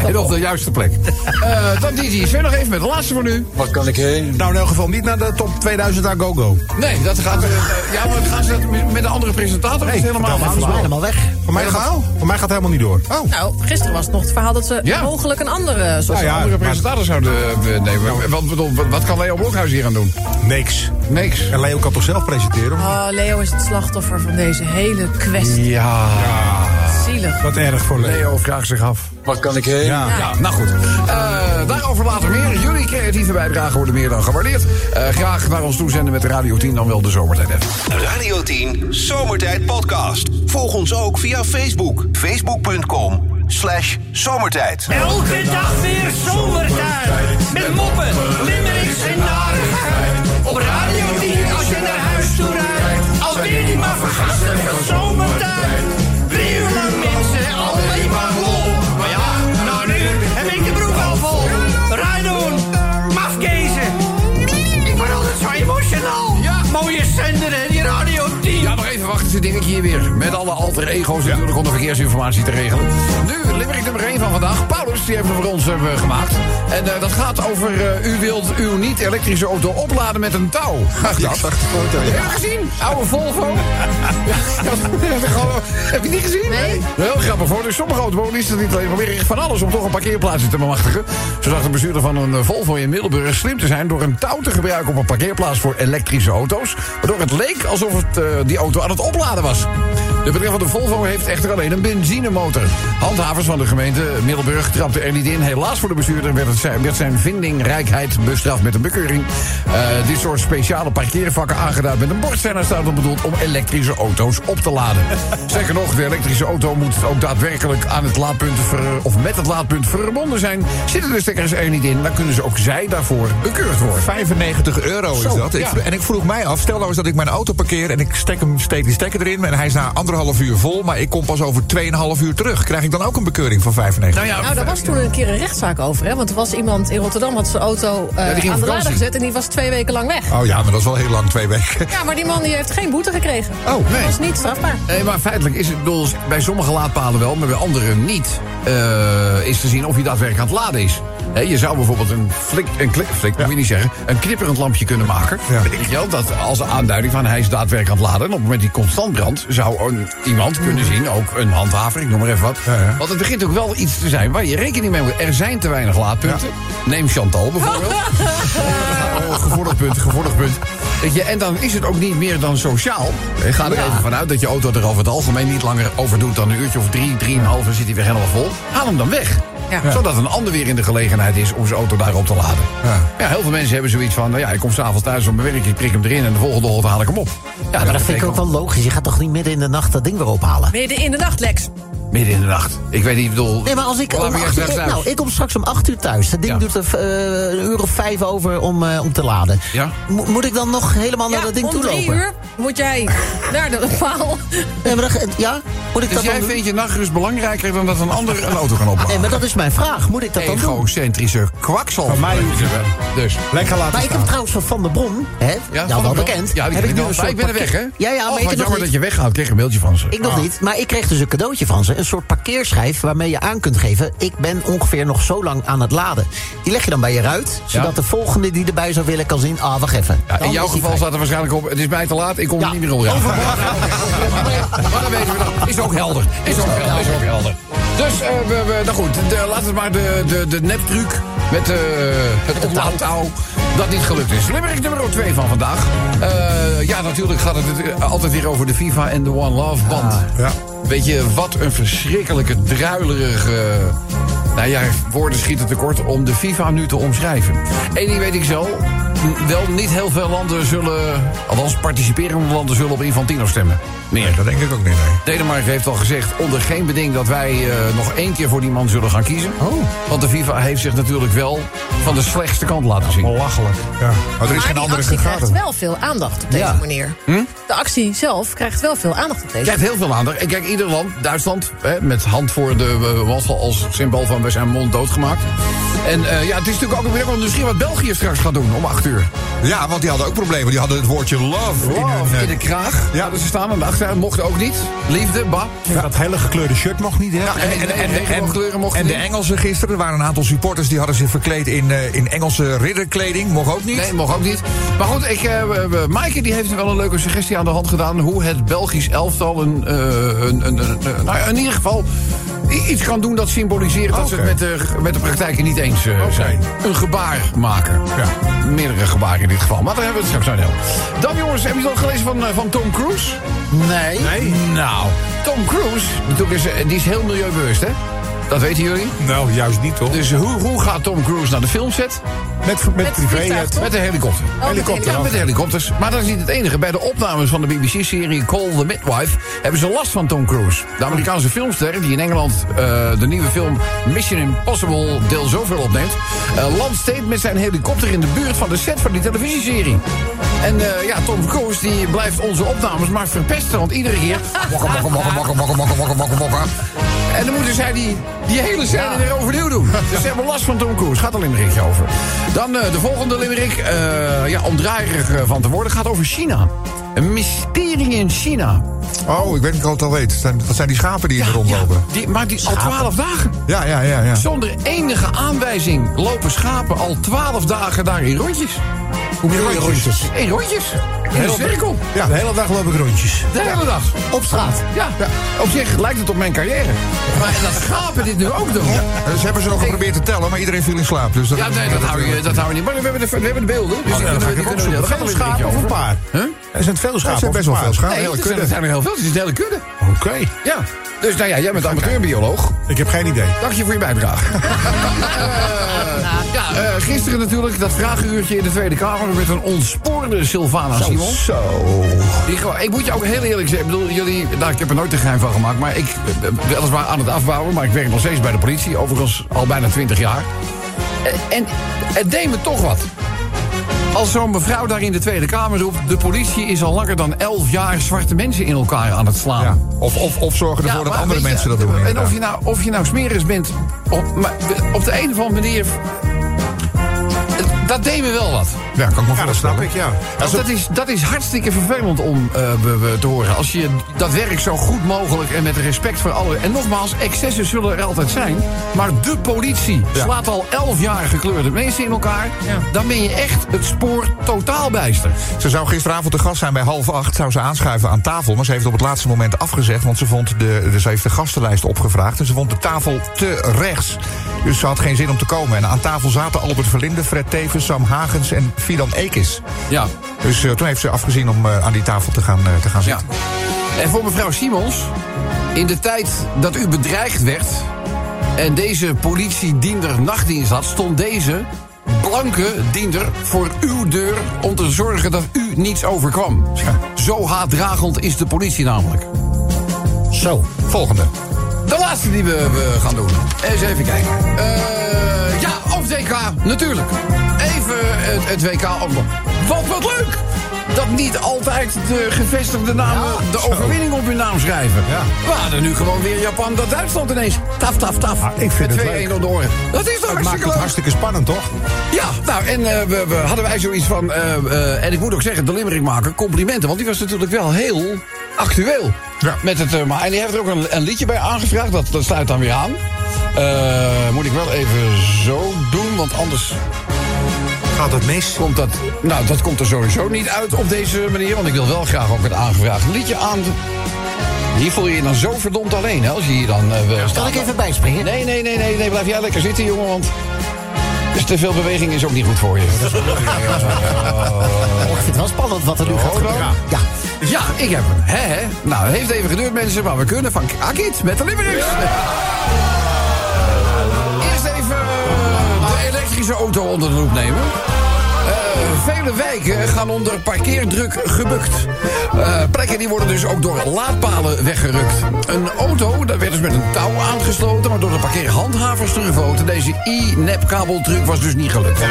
Speaker 2: En op de juiste plek. Eh, dan DJ Sven nog even met de laatste voor nu.
Speaker 8: Waar kan ik heen?
Speaker 6: Nou, in elk geval niet naar de top 2000 aan GoGo.
Speaker 2: Nee, dat gaat... eh, ja, maar dan gaan ze dat met- met een andere presentator? Nee,
Speaker 6: Nee,
Speaker 2: helemaal
Speaker 6: vertel maar.
Speaker 2: anders.
Speaker 7: Helemaal weg.
Speaker 5: Oh.
Speaker 6: Voor mij, gaat, voor mij gaat het helemaal niet door.
Speaker 4: Nou, gisteren was het nog het verhaal dat ze we
Speaker 2: Ja. Nou
Speaker 4: mogelijk een andere eh, soort.
Speaker 2: Als we
Speaker 6: ja,
Speaker 2: andere
Speaker 6: Ah, maar-
Speaker 2: presentator zouden eh, nemen. Want, bedoel, wat- wat kan Leo Blokhuis hier aan doen?
Speaker 6: Niks.
Speaker 2: Niks.
Speaker 6: En Leo kan toch zelf presenteren? of niet?
Speaker 4: Oh, Leo is het slachtoffer van deze hele kwestie.
Speaker 2: Ja,
Speaker 4: Zielig.
Speaker 6: Wat erg voor Leo.
Speaker 2: Leo vraagt zich af.
Speaker 8: Waar kan ik heen?
Speaker 6: Ja.
Speaker 2: Ja, nou goed. Eh, daarover later meer. Jullie creatieve bijdragen worden meer dan gewaardeerd. Eh, graag naar ons toezenden met Radio 10, dan wel de zomertijd. app.
Speaker 1: Radio 10 Zomertijd Podcast. Volg ons ook via Facebook. Facebook.com slash zomertijd.
Speaker 9: Elke dag weer zomertijd. Met moppen, limmerings en narigheid. Op Radio 10 als je naar huis toe rijdt. Alweer die maar vergastige zomertijd. Drie uur lang mensen, alleen maar lol. Maar ja, nou nu heb ik de broek al vol. Rijdoen, mafkezen. Ik word altijd zo emotional. Mooie zender en die Radio 10.
Speaker 2: Ja, nog even wachten, zit ik hier weer. Met alle alter ego's natuurlijk om de verkeersinformatie te regelen. Nu, limerick nummer 1 van vandaag. Paulus, die heeft er voor ons hebben gemaakt. En eh, dat gaat over eh, u wilt uw niet-elektrische auto opladen met een touw. Ach, dat.
Speaker 5: zag de foto,
Speaker 2: Heb je dat gezien? Oude Volvo. Gewoon, Heb je die gezien?
Speaker 4: Nee.
Speaker 2: Heel grappig hoor. Dus sommige automobilisten die proberen echt van alles om toch een parkeerplaatsje te bemachtigen. Zo dacht de bestuurder van een eh, Volvo in Middelburg slim te zijn door een touw te gebruiken op een parkeerplaats voor elektrische auto's. Waardoor het leek alsof het, eh, die auto aan het opladen was. De betreffende Volvo heeft echter alleen een benzinemotor. Handhavers van de gemeente Middelburg trapten er niet in. Helaas voor de bestuurder werd, het zijn, werd zijn vindingrijkheid bestraft met een bekeuring. Eh, dit soort speciale parkeervakken aangeduid met een bord zijn er staat op bedoeld om elektrische auto's op te laden. Sterker nog, de elektrische auto moet ook daadwerkelijk aan het laadpunt ver- of met het laadpunt verbonden zijn. Zitten de stekkers er niet in, dan kunnen ze ook zij daarvoor bekeurd worden.
Speaker 5: 95 euro is
Speaker 2: Zo,
Speaker 5: dat. Ik
Speaker 2: ja.
Speaker 5: vro- en ik vroeg mij af, stel nou eens dat ik mijn auto parkeer... en ik stek hem steek die stekker erin en hij is na anderhalf uur vol... maar ik kom pas over 2,5 uur terug. Krijg ik dan ook een bekeuring van 95?
Speaker 2: ja,
Speaker 4: Nou, daar was toen een keer een rechtszaak over, hè? Want er was iemand in Rotterdam had zijn auto
Speaker 2: die
Speaker 4: eh,
Speaker 2: ging op
Speaker 4: aan de lader
Speaker 2: vakantie.
Speaker 4: gezet en die was twee weken lang weg.
Speaker 5: Oh ja, maar dat is wel heel lang, twee weken.
Speaker 4: Ja, maar die man die heeft geen boete gekregen.
Speaker 2: Oh, nee.
Speaker 4: Dat was niet strafbaar.
Speaker 2: Nee, Eh, maar feitelijk is het ik bedoel, bij sommige laadpalen wel, maar bij anderen niet. eh, is te zien of je daadwerkelijk aan het laden is. Hè, je zou bijvoorbeeld een flik, een klik, flik moet je niet zeggen, een knipperend lampje kunnen maken.
Speaker 5: Ja.
Speaker 2: Weet je wel, dat als een aanduiding van hij is daadwerkelijk aan het laden. En op het moment die constant brandt, zou een, iemand kunnen zien, ook een handhaver, ik noem maar even wat.
Speaker 5: Ja, ja.
Speaker 2: Want het begint ook wel iets te zijn waar je rekening mee moet. Er zijn te weinig laadpunten. Neem Chantal bijvoorbeeld. Oh, gevoelig punt, gevoelig punt. Weet je, en dan is het ook niet meer dan sociaal. Ik ga er even vanuit dat je auto er over het algemeen niet langer over doet dan een uurtje of drie, drieënhalf en zit hij weer helemaal vol. Haal hem dan weg.
Speaker 4: Ja.
Speaker 2: Zodat een ander weer in de gelegenheid is om zijn auto daarop te laden. Ja.
Speaker 5: Ja.
Speaker 2: heel veel mensen hebben zoiets van: nou ja, ik kom s'avonds thuis van mijn werk, ik prik hem erin en de volgende ochtend haal ik hem op. Ja,
Speaker 7: Maar dat vind ik ook wel logisch. Je gaat toch niet midden in de nacht dat ding weer ophalen?
Speaker 4: Midden in de nacht, Lex.
Speaker 2: Midden in de nacht. Ik weet niet, ik bedoel.
Speaker 7: Nee, maar als ik
Speaker 2: Laat
Speaker 7: om
Speaker 2: me
Speaker 7: acht
Speaker 2: eerst
Speaker 7: uur,
Speaker 2: naar huis.
Speaker 7: nou, ik kom straks om acht uur thuis. Dat ding
Speaker 2: Ja.
Speaker 7: doet er eh, een uur of vijf over om, eh, om te laden.
Speaker 2: Ja.
Speaker 7: Mo- moet ik dan nog helemaal naar dat ding
Speaker 4: om
Speaker 7: toe lopen?
Speaker 4: drie uur moet jij naar de paal.
Speaker 7: Nee, maar dat- ja? Moet ik
Speaker 2: Dus
Speaker 7: dat dan
Speaker 2: jij
Speaker 7: doen?
Speaker 2: vindt je nachtrust belangrijker dan dat een ander een auto kan opladen?
Speaker 7: Nee, maar dat is mijn vraag. Moet ik dat dan doen?
Speaker 2: egocentrische kwakzalver.
Speaker 6: Van mij hoeft het
Speaker 2: Dus.
Speaker 6: Lekker laten
Speaker 7: Maar ik heb
Speaker 6: staan.
Speaker 7: trouwens van Van der Bron, hè,
Speaker 2: Ja,
Speaker 7: jou Nou, wel
Speaker 2: van-
Speaker 7: bekend.
Speaker 2: Ja, die
Speaker 7: heb
Speaker 2: ken ik
Speaker 7: nu
Speaker 2: wel.
Speaker 7: een
Speaker 2: Maar
Speaker 7: soort
Speaker 2: ik ben er weg, hè?
Speaker 7: parkeer- Ja, ja,
Speaker 2: Oh,
Speaker 7: maar
Speaker 2: wat
Speaker 7: ik heb nog
Speaker 2: jammer
Speaker 7: niet.
Speaker 2: dat je Ah. weggaat. Ik kreeg een mailtje van ze.
Speaker 7: Ik nog niet, maar ik kreeg dus een cadeautje van ze. Een soort parkeerschijf waarmee je aan kunt geven... ik ben ongeveer nog zo lang aan het laden. Die leg je dan bij je ruit, zodat
Speaker 2: Ja.
Speaker 7: de volgende die erbij zou willen kan zien... ah, wacht even.
Speaker 2: Ja, in
Speaker 7: Dan
Speaker 2: jouw
Speaker 7: is die vrij.
Speaker 2: geval staat er waarschijnlijk op... het is mij te laat, ik kom
Speaker 7: Ja. Oh,
Speaker 2: er niet meer onderuit. Maar dan weten we dat. Is ook helder. Is ook helder. Is ook helder. Dus, eh, we, we, nou goed, de, laten we maar de, de, de neptruc met eh het oplaadtouw... dat niet gelukt is. Limerick nummer 2 van vandaag. Eh, ja, natuurlijk gaat het eh, altijd weer over de FIFA en de One Love band.
Speaker 7: Ah,
Speaker 6: Ja.
Speaker 2: Weet je, wat een verschrikkelijke, druilerige... Nou ja, woorden schieten tekort om de FIFA nu te omschrijven. Eén ding weet ik zo. m- Wel niet heel veel landen zullen... Althans, participerende landen zullen op Infantino stemmen. Meer.
Speaker 5: Dat denk ik ook niet, nee.
Speaker 2: Denemarken heeft al gezegd onder geen beding dat wij eh, nog één keer voor die man zullen gaan kiezen. Want de FIFA heeft zich natuurlijk wel van de slechtste kant laten zien.
Speaker 6: Belachelijk. Ja.
Speaker 5: Maar er is
Speaker 4: Maar
Speaker 5: geen
Speaker 4: die
Speaker 5: andere
Speaker 4: actie krijgt
Speaker 5: gegaan.
Speaker 4: wel veel aandacht op deze
Speaker 2: Ja.
Speaker 4: manier. De actie zelf krijgt wel veel aandacht op deze
Speaker 2: Krijgt heel veel aandacht. En Hm? kijk, ieder land, Duitsland, hè, met hand voor de eh, waffel als symbool van we zijn mond doodgemaakt. En eh, ja, het is natuurlijk ook weer want misschien wat België straks gaat doen om acht uur.
Speaker 5: Ja, want die hadden ook problemen. Die hadden het woordje love, in hun...
Speaker 2: Love
Speaker 5: eh,
Speaker 2: in de kraag. Ja,
Speaker 5: Ja.
Speaker 2: dus ze staan aan de achteruit, mocht ook niet. Liefde, bah.
Speaker 6: Dat hele gekleurde shirt mocht niet, hè?
Speaker 5: Ja, en, en, en, en,
Speaker 2: Regenboogkleuren mochten
Speaker 5: en de
Speaker 2: niet.
Speaker 5: Engelsen gisteren, er waren een aantal supporters... die hadden zich verkleed in, eh, in Engelse ridderkleding. Mocht ook niet.
Speaker 2: Nee, mocht ook niet. Maar goed, ik, eh, we- we- Maaike die heeft wel een leuke suggestie aan de hand gedaan... hoe het Belgisch elftal een, eh, een, een, een- een- nou ja, in ieder geval i- iets kan doen dat symboliseert dat ze het
Speaker 6: Oké.
Speaker 2: met de, met de praktijken niet eens eh, zijn. Een gebaar maken.
Speaker 6: Ja.
Speaker 2: Meerdere gebaren in dit geval. Maar daar hebben we het straks aan. Dan jongens, hebben jullie het al gelezen van, eh, van Tom Cruise?
Speaker 7: Nee.
Speaker 2: Nou, Tom Cruise, natuurlijk is, eh, die is heel milieubewust, hè? Dat weten jullie.
Speaker 6: Nou, juist niet, toch?
Speaker 2: Dus hoe, hoe gaat Tom Cruise naar de filmset?
Speaker 6: Met, met privé.
Speaker 4: vliegtuig, toch?
Speaker 2: Met de helikopter.
Speaker 4: Oh, met de helikopter.
Speaker 2: Ja, met de helikopters. Maar dat is niet het enige. Bij de opnames van de BBC-serie Call the Midwife hebben ze last van Tom Cruise. De Amerikaanse filmster die in Engeland eh, de nieuwe film Mission Impossible deel zoveel opneemt, eh, landt steeds met zijn helikopter in de buurt van de set van die televisieserie. En eh, ja, Tom Cruise die blijft onze opnames maar verpesten, want iedere keer.
Speaker 5: Mokka, mokka, mokka, mokka, mokka, mokka, mokka, mokka, mokka.
Speaker 2: En dan moeten zij die, die hele scène weer overnieuw doen. Dus ze hebben last van Tom Cruise. Gaat een limerickje over. Dan eh, de volgende limerick. eh, ja, om draaierig eh, van te worden. Gaat over China. Een mysterie in China.
Speaker 5: Oh, ik weet niet of ik het al weet. Dat zijn, dat zijn die schapen die hier
Speaker 2: Ja,
Speaker 5: rondlopen.
Speaker 2: die, maar die al twaalf dagen.
Speaker 5: Ja, ja, ja. ja.
Speaker 2: Zonder enige aanwijzing lopen schapen al twaalf dagen daar in rondjes.
Speaker 6: Hoe bedoel je rondjes?
Speaker 2: In rondjes. In een cirkel.
Speaker 6: Ja, de hele dag loop ik rondjes.
Speaker 2: De hele dag.
Speaker 7: Op straat.
Speaker 2: Ja, op zich lijkt het op mijn carrière. Maar dat schapen dit nu ook doen.
Speaker 5: Eh, Ze hebben ze nog geprobeerd te tellen, maar iedereen viel in slaap. Dus dat
Speaker 2: Ja, nee, dat houden we, dat houden we niet. Maar we hebben de, we hebben de beelden. Dus die
Speaker 6: Oh, Ja, dan
Speaker 2: kunnen
Speaker 6: ga
Speaker 2: we-
Speaker 6: ik
Speaker 2: die
Speaker 6: het
Speaker 2: kunnen we-
Speaker 6: opzoeken.
Speaker 2: dat gaat
Speaker 6: Veel
Speaker 2: er weer een
Speaker 6: schapen of
Speaker 2: beetje
Speaker 6: een
Speaker 2: over.
Speaker 6: paar? Er zijn veel schapen
Speaker 5: Er zijn
Speaker 6: of
Speaker 5: best
Speaker 6: een
Speaker 5: wel veel
Speaker 6: paar?
Speaker 5: schapen.
Speaker 2: Nee,
Speaker 5: Hele
Speaker 2: er zijn- er
Speaker 5: kudde.
Speaker 2: zijn er heel veel. dus Het is een hele kudde.
Speaker 6: Oké.
Speaker 2: Ja. Dus nou ja, jij bent amateurbioloog.
Speaker 6: Ik heb geen idee.
Speaker 2: Dank je voor je bijdrage. Eh, ja, eh, gisteren natuurlijk dat vraaguurtje in de Tweede Kamer... met een ontspoorde Sylvana Simon.
Speaker 5: Zo.
Speaker 2: Die gewoon- ik moet je ook heel eerlijk zeggen. Ik bedoel, jullie, nou, ik heb er nooit een geheim van gemaakt. Maar ik, eh, weliswaar aan het afbouwen, maar ik werk nog steeds bij de politie. Overigens al bijna 20 jaar. Eh, En het deed me toch wat. Als zo'n mevrouw daar in de Tweede Kamer roept... de politie is al langer dan 11 jaar zwarte mensen in elkaar aan het slaan.
Speaker 5: Ja. Of, of, of zorgen ervoor dat
Speaker 2: maar
Speaker 5: andere
Speaker 2: weet je,
Speaker 5: mensen dat doen.
Speaker 2: En of
Speaker 5: inderdaad.
Speaker 2: je nou, of je nou smerig bent, op, maar op de een of andere manier... Dat deed me wel wat.
Speaker 5: Ja, kan ik me
Speaker 6: Ja, dat snap
Speaker 5: voorstellen.
Speaker 6: ik, ja.
Speaker 2: Want dat, is, dat is hartstikke vervelend om eh, be- be- te horen. Als je dat werk zo goed mogelijk en met respect voor alle... En nogmaals, excessen zullen er altijd zijn. Maar de politie slaat al elf jaar gekleurde mensen in elkaar. Dan ben je echt het spoor totaal bijster.
Speaker 5: Ze zou gisteravond de gast zijn bij half acht. Zou ze aanschuiven aan tafel. Maar ze heeft op het laatste moment afgezegd. Want ze, vond de, dus ze heeft de gastenlijst opgevraagd. En ze vond de tafel te rechts. Dus ze had geen zin om te komen. En aan tafel zaten Albert Verlinde, Fred Teven, Sam Hagens en Fidan Ekis.
Speaker 2: Ja.
Speaker 5: Dus eh, toen heeft ze afgezien om eh, aan die tafel te gaan, eh, te gaan
Speaker 2: ja.
Speaker 5: zitten.
Speaker 2: En voor mevrouw Simons, in de tijd dat u bedreigd werd... en deze politiediender nachtdienst had... stond deze blanke diender voor uw deur... om te zorgen dat u niets overkwam. Zo haatdragend is de politie namelijk.
Speaker 5: Zo, volgende.
Speaker 2: De laatste die we, we gaan doen. Eens even kijken. Eh, ja, op het WK, natuurlijk. Even het, het WK opdoen. Wat, wat leuk! Dat niet altijd de gevestigde namen de overwinning op hun naam schrijven. We hadden nu gewoon weer Japan dat Duitsland ineens. Taf, taf, taf.
Speaker 6: Ah, ik vind
Speaker 2: Met
Speaker 6: het
Speaker 2: 2-1
Speaker 6: leuk.
Speaker 2: om de oren. Dat is toch
Speaker 6: Het maakt
Speaker 2: hartstikke
Speaker 6: het
Speaker 2: leuk?
Speaker 6: hartstikke spannend, toch?
Speaker 2: Ja, nou, en eh, we, we hadden wij zoiets van... eh, eh, en ik moet ook zeggen, de limmering maken, complimenten. Want die was natuurlijk wel heel actueel.
Speaker 5: Ja.
Speaker 2: Met het, eh, maar, en die heeft er ook een, een liedje bij aangevraagd. Dat, dat sluit dan weer aan. Eh, moet ik wel even zo doen, want anders
Speaker 6: Gaat dat mis?
Speaker 2: komt dat... Nou, dat komt er sowieso niet uit op deze manier. Want ik wil wel graag ook het aangevraagd liedje aan... Hier voel je je dan zo verdomd alleen, hè, als je hier dan eh, wil staan.
Speaker 7: Kan ik even bijspringen?
Speaker 2: Nee, nee, nee, nee, nee, blijf jij lekker zitten, jongen, want... Dus te veel beweging is ook niet goed voor je.
Speaker 7: Ik vind het wel spannend wat er nu gaat gebeuren. Ja.
Speaker 2: Ja, ik heb hem. Hè, hè? Nou, het heeft even geduurd, mensen, maar we kunnen van Akit met de Limericks. Eerst even eh, de elektrische auto onder de loep nemen. Eh, Vele wijken gaan onder parkeerdruk gebukt. Eh, plekken die worden dus ook door laadpalen weggerukt. Een auto, daar werd dus met een touw aangesloten... maar door de parkeerhandhavers teruggevoten. Deze i-nep-kabeltruc was dus niet gelukt. Dan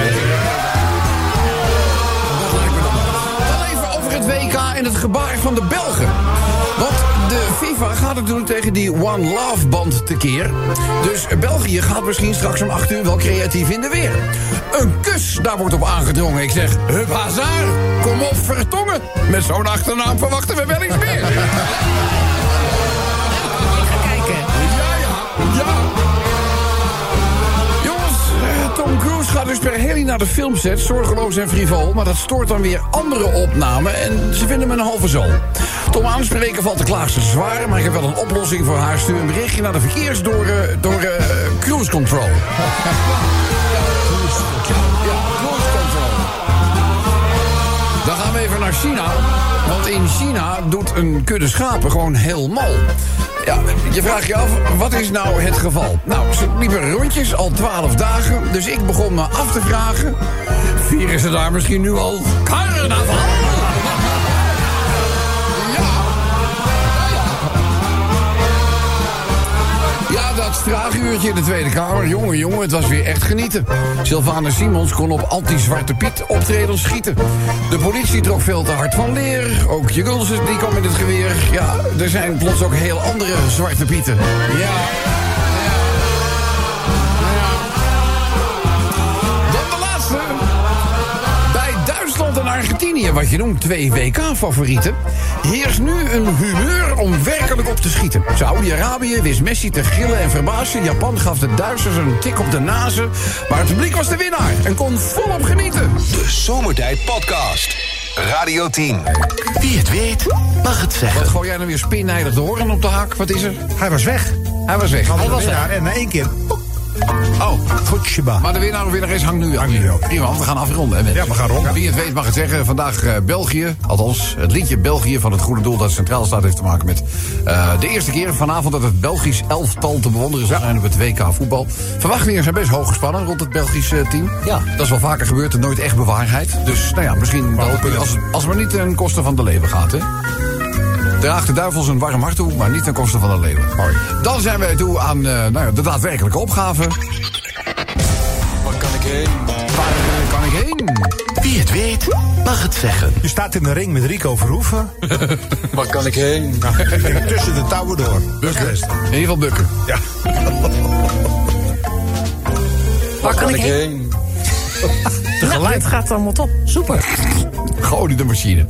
Speaker 2: even over het WK en het gebaar van de Belgen. Want de FIFA gaat het doen tegen die One Love-band tekeer. Dus België gaat misschien straks om 8 uur wel creatief in de weer. Een kus, daar wordt op aangedrongen. Ik zeg, hup hazaar, kom op vertongen. Met zo'n achternaam verwachten we wel iets meer. Ja, ja, ja. Jongens, eh, Tom Cruise gaat dus per heli naar de filmset, zorgeloos en frivol. Maar dat stoort dan weer andere opnamen en ze vinden me een halve zool. Tom aanspreken valt de klaagster zwaar, maar ik heb wel een oplossing voor haar. Stuur een berichtje naar de verkeers door, eh, door eh, Cruise Control. Ja, Cruise Control. Dan gaan we even naar China. Want in China doet een kudde schapen gewoon heel mal. Ja, je vraagt je af, wat is nou het geval? Nou, ze liepen rondjes al twaalf dagen. Dus ik begon me af te vragen... vieren ze daar misschien nu al carnaval? Ja, dat straaguurtje in de Tweede Kamer. Jongen, jongen, het was weer echt genieten. Sylvana Simons kon op anti-Zwarte Piet optredens schieten. De politie trok veel te hard van leer. Ook je Gulsen, die kwam in het geweer. Ja, er zijn plots ook heel andere Zwarte Pieten. Ja. Dan de laatste. Bij Duitsland en Argentinië, wat je noemt twee WK-favorieten, heerst nu een humeur om werkelijk op te schieten. Saudi-Arabië wist Messi te gillen en verbazen. Japan gaf de Duitsers een tik op de nazen. Maar het publiek was de winnaar en kon volop genieten.
Speaker 1: De Zomertijd Podcast. Radio 10.
Speaker 10: Wie het weet, mag het zeggen.
Speaker 2: Wat gooi jij nou weer spinnijdig de horen op de hak? Wat is er?
Speaker 6: Hij was weg.
Speaker 2: Hij was weg.
Speaker 6: Hij was daar en na één keer.
Speaker 2: Oh,
Speaker 6: Goed, Shiba.
Speaker 2: Maar de winnaar of winnares hangt nu
Speaker 6: Hangt nu
Speaker 2: aan.
Speaker 6: ook.
Speaker 2: Prima, want we gaan afronden. Hè,
Speaker 6: Ja, we gaan ronden.
Speaker 2: Wie het weet mag het zeggen. Vandaag eh, België. Althans, het liedje België van het goede doel dat centraal staat... heeft te maken met eh, de eerste keer vanavond... dat het Belgisch elftal te bewonderen zal zijn op het WK voetbal. Verwachtingen zijn best hoog gespannen rond het Belgisch eh, team.
Speaker 7: Ja.
Speaker 2: Dat is wel vaker gebeurd en nooit echt bewaarheid. Dus nou ja, misschien dat het- als, als het maar niet ten koste van de leven gaat, hè? Draag de duivel zijn warm hart toe, maar niet ten koste van de leeuw. Dan zijn wij toe aan eh, nou ja, de daadwerkelijke opgave. Waar eh, kan ik heen?
Speaker 10: Wie het weet, mag het zeggen.
Speaker 6: Je staat in de ring met Rico Verhoeven. Nou,
Speaker 8: Waar kan ik heen?
Speaker 6: tussen de touwen door. Best.
Speaker 2: In ieder geval bukken.
Speaker 6: Ja.
Speaker 4: Waar kan ik heen?
Speaker 8: heen?
Speaker 4: Nou, dit gaat allemaal top. Super.
Speaker 2: Gooi de machine.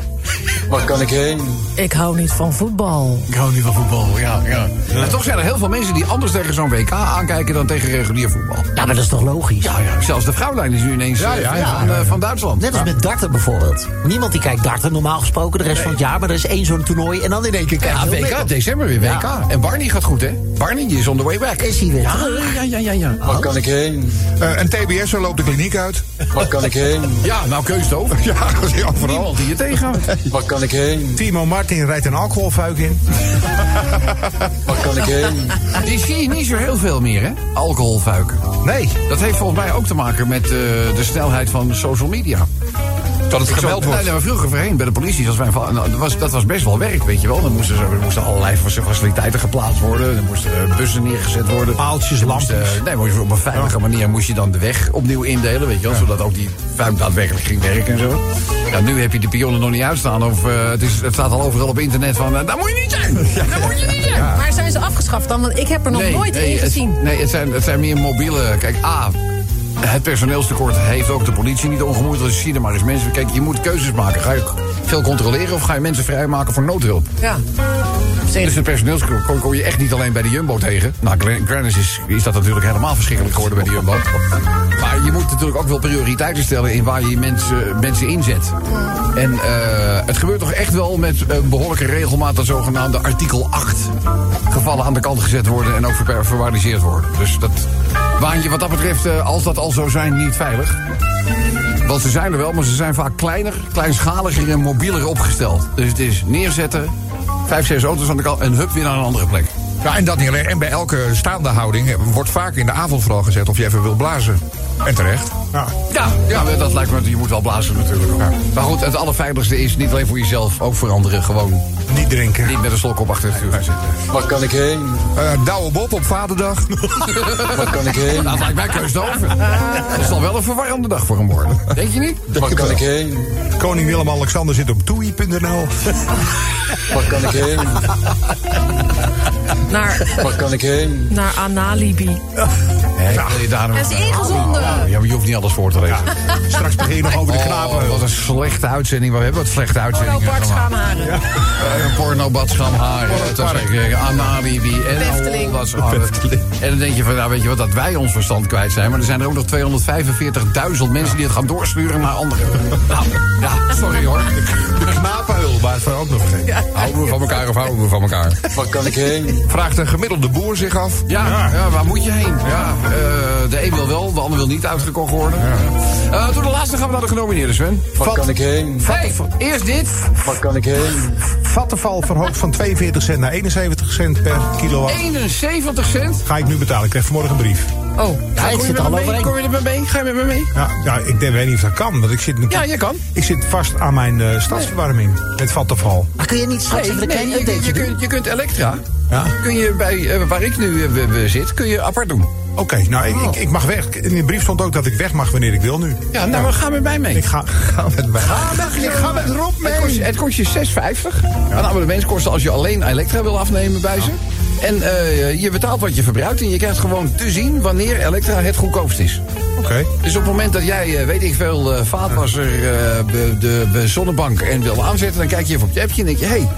Speaker 8: Waar kan ik heen?
Speaker 4: Ik hou niet van voetbal.
Speaker 2: Ik hou niet van voetbal, ja, ja. En toch zijn er heel veel mensen die anders tegen zo'n WK aankijken dan tegen regulier voetbal.
Speaker 7: Ja, nou, maar dat is toch logisch?
Speaker 2: Ja, ja. Zelfs de vrouwlijn is nu ineens eh,
Speaker 6: ja, ja,
Speaker 2: van, eh, van Duitsland.
Speaker 7: Net als met darten bijvoorbeeld. Niemand die kijkt darten, normaal gesproken, de rest van het jaar. Maar er is één zo'n toernooi en dan in één keer kijk je
Speaker 2: Ja,
Speaker 7: heel
Speaker 2: WK,
Speaker 7: Nederland.
Speaker 2: december weer WK. En Barney gaat goed, hè? Barney die is on the way back.
Speaker 7: Is hij weer
Speaker 2: Ja,
Speaker 7: terug?
Speaker 2: ja, ja, ja, ja.
Speaker 8: Waar kan ik heen?
Speaker 5: Eh, een TBS loopt de kliniek uit.
Speaker 8: Waar kan ik heen?
Speaker 2: Ja, nou keus over.
Speaker 5: Ja, ja, vooral.
Speaker 2: Niemand die je tegenhoudt.
Speaker 8: Waar kan ik heen?
Speaker 6: Timo Martin rijdt een alcoholfuik in.
Speaker 8: Waar kan ik heen?
Speaker 2: Die zie je niet zo heel veel meer, hè? Alcoholfuiken.
Speaker 6: Nee.
Speaker 2: Dat heeft volgens mij ook te maken met eh, de snelheid van social media. Dat het
Speaker 5: gemeld wordt.
Speaker 2: Nee, nee, maar vroeger voorheen bij de politie, dat was, mijn va- nou, dat was, dat was best wel werk, weet je wel. Dan moesten, ze- er moesten allerlei fac- faciliteiten geplaatst worden. Er moesten eh, bussen neergezet worden.
Speaker 6: Paaltjes,
Speaker 2: Er moest,
Speaker 6: lampjes.
Speaker 2: eh, nee, moest je op een veilige manier moest je dan de weg opnieuw indelen, weet je wel. Zodat ook die vuik daadwerkelijk ging werken en zo. Ja, nu heb je de pionnen nog niet uitstaan. Of eh, het, is, het staat al overal op internet van, eh, daar moet je niet zijn. Daar moet je niet zijn.
Speaker 4: Maar zijn ze afgeschaft dan? Want ik heb er nog nooit één
Speaker 2: het,
Speaker 4: gezien.
Speaker 2: Nee, het zijn, het zijn meer mobiele. Kijk, A. Het personeelstekort heeft ook de politie niet ongemoeid. Dus zie er maar eens mensen. Kijk, je moet keuzes maken. Ga je veel controleren of ga je mensen vrijmaken voor noodhulp?
Speaker 4: Ja.
Speaker 2: Dus het personeelstekort kon, kon je echt niet alleen bij de Jumbo tegen. Nou, Glen- Grannis is, is dat natuurlijk helemaal verschrikkelijk geworden bij de Jumbo. Maar je moet natuurlijk ook wel prioriteiten stellen in waar je mensen, mensen inzet. En eh, het gebeurt toch echt wel met een behoorlijke regelmaat dat zogenaamde artikel 8 gevallen aan de kant gezet worden en ook ver- verwaardiseerd worden. Dus dat waan je wat dat betreft, eh, als dat al zo zijn, niet veilig. Want ze zijn er wel, maar ze zijn vaak kleiner, kleinschaliger en mobieler opgesteld. Dus het is neerzetten, vijf, zes auto's aan de kant en hup weer naar een andere plek.
Speaker 5: Ja, en dat niet alleen. En bij elke staande houding eh, wordt vaak in de avond vooral gezet of je even wil blazen. En terecht.
Speaker 2: Ja, ja dat lijkt me, je moet wel blazen natuurlijk. ook. Maar goed, het allerveiligste is niet alleen voor jezelf, ook voor anderen. Gewoon
Speaker 6: Niet drinken.
Speaker 2: niet met een slok op achter het stuur gaan zitten.
Speaker 8: Waar kan ik heen?
Speaker 5: Eh Douwe Bob op vaderdag.
Speaker 8: Waar kan ik heen?
Speaker 2: Nou, dat lijkt mij keus te over. Het zal wel een verwarrende dag voor hem worden. Denk je niet?
Speaker 8: Waar kan ik heen?
Speaker 6: Koning Willem-Alexander zit op toei.nl.
Speaker 8: Waar kan ik heen?
Speaker 4: Naar,
Speaker 8: Waar kan ik heen?
Speaker 4: naar Analibi.
Speaker 2: Nee, wil je daar nog-
Speaker 4: Hij is ingezonden.
Speaker 2: Ja, maar je hoeft niet alles voor te lezen.
Speaker 6: Straks begin je nog over de knapen.
Speaker 2: Oh, wat een slechte uitzending. We hebben wat slechte uitzendingen.
Speaker 4: Porno, Bart,
Speaker 2: gemaakt.
Speaker 4: schaamharen.
Speaker 2: Eh, Porno, Bad, Schamhaar. Dat zeg ik. eh, Analibi. En
Speaker 4: Befteling.
Speaker 2: al dat soort- En dan denk je van, nou weet je wat, dat wij ons verstand kwijt zijn. Maar er zijn er ook nog 245.000 mensen die het gaan doorsturen naar anderen. Nou, ja, sorry hoor.
Speaker 6: De knapenhul, waar het van ook nog geen.
Speaker 2: Houden we van elkaar of houden we van elkaar?
Speaker 8: Waar kan ik heen?
Speaker 5: Vraagt een gemiddelde boer zich af.
Speaker 2: Ja, ja, waar moet je heen? Ja, eh, de een wil wel, de ander wil niet uitgekocht worden. Eh, door de laatste gaan we naar de genomineerden, Sven.
Speaker 8: Waar kan ik heen?
Speaker 2: Hey, eerst dit.
Speaker 8: Waar kan ik heen?
Speaker 6: Vattenval verhoogt van 42 cent naar 71 cent per kilowatt.
Speaker 2: 71 cent.
Speaker 6: Ga ik nu betalen. Ik krijg vanmorgen een brief.
Speaker 2: Oh,
Speaker 7: Ja, ik
Speaker 2: kom je
Speaker 7: zit er
Speaker 2: met
Speaker 7: al
Speaker 2: me mee?
Speaker 7: overheen.
Speaker 2: Kom je er met me mee? Ga je met me mee?
Speaker 6: Ja, ja ik denk- weet niet of dat kan. Want ik zit,
Speaker 2: Ja, je kan.
Speaker 6: ik zit vast aan mijn eh stadsverwarming. Met Vattenval.
Speaker 7: Maar kun je niet straks even een klein
Speaker 2: je, kunt- je
Speaker 7: updateje doen?
Speaker 2: kunt, je kunt Elektra.
Speaker 6: Ja.
Speaker 2: Kun je bij, eh, waar ik nu eh, we- we zit, kun je apart doen.
Speaker 6: Oké, nou, ik, ik, ik mag weg. In de brief stond ook dat ik weg mag wanneer ik wil nu.
Speaker 2: Ja, nou, we gaan met mij mee.
Speaker 6: Ik ga, ga met mij.
Speaker 2: Ik ga met Rob mee. Het kost, het kost je 6,50. Aan Een abonnementskosten als je alleen Elektra wil afnemen bij ze. En eh, je betaalt wat je verbruikt en je krijgt gewoon te zien wanneer Elektra het goedkoopst is.
Speaker 6: Oké.
Speaker 2: Dus op het moment dat jij, eh, weet ik veel, eh, vaatwasser, eh, be- de, de zonnebank en wil aanzetten... dan kijk je even op je appje en denk je... hé, hey,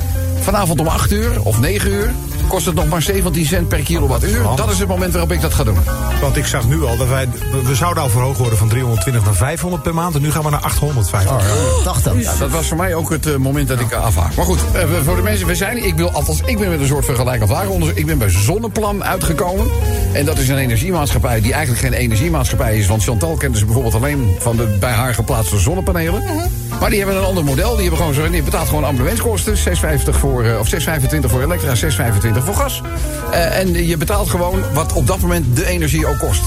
Speaker 2: vanavond om 8 uur of 9 uur kost het nog maar 17 cent per kilowattuur. Dat is het moment waarop ik dat ga doen.
Speaker 6: Want ik zag nu al dat wij. we- We zouden al verhoogd worden van 320 naar 500 per maand. En nu gaan we naar 850.
Speaker 5: Oh,
Speaker 7: Dacht dan.
Speaker 2: Ja, dat was voor mij ook het eh, moment dat ik eh, afhaak. Maar goed, eh, we- voor de mensen, we zijn, ik, wil, althans, ik ben met een soort vergelijkend onderzoek. Ik ben bij Zonneplan uitgekomen. En dat is een energiemaatschappij die eigenlijk geen energiemaatschappij is. Want Chantal kent ze bijvoorbeeld alleen van de bij haar geplaatste zonnepanelen. Maar die hebben een ander model. Die hebben gewoon zo, je betaalt gewoon abonnementskosten. 6,50 voor, eh, of 6,25 voor elektra, 6,25 voor gas. Eh, en je betaalt gewoon wat op dat moment de energie ook kost.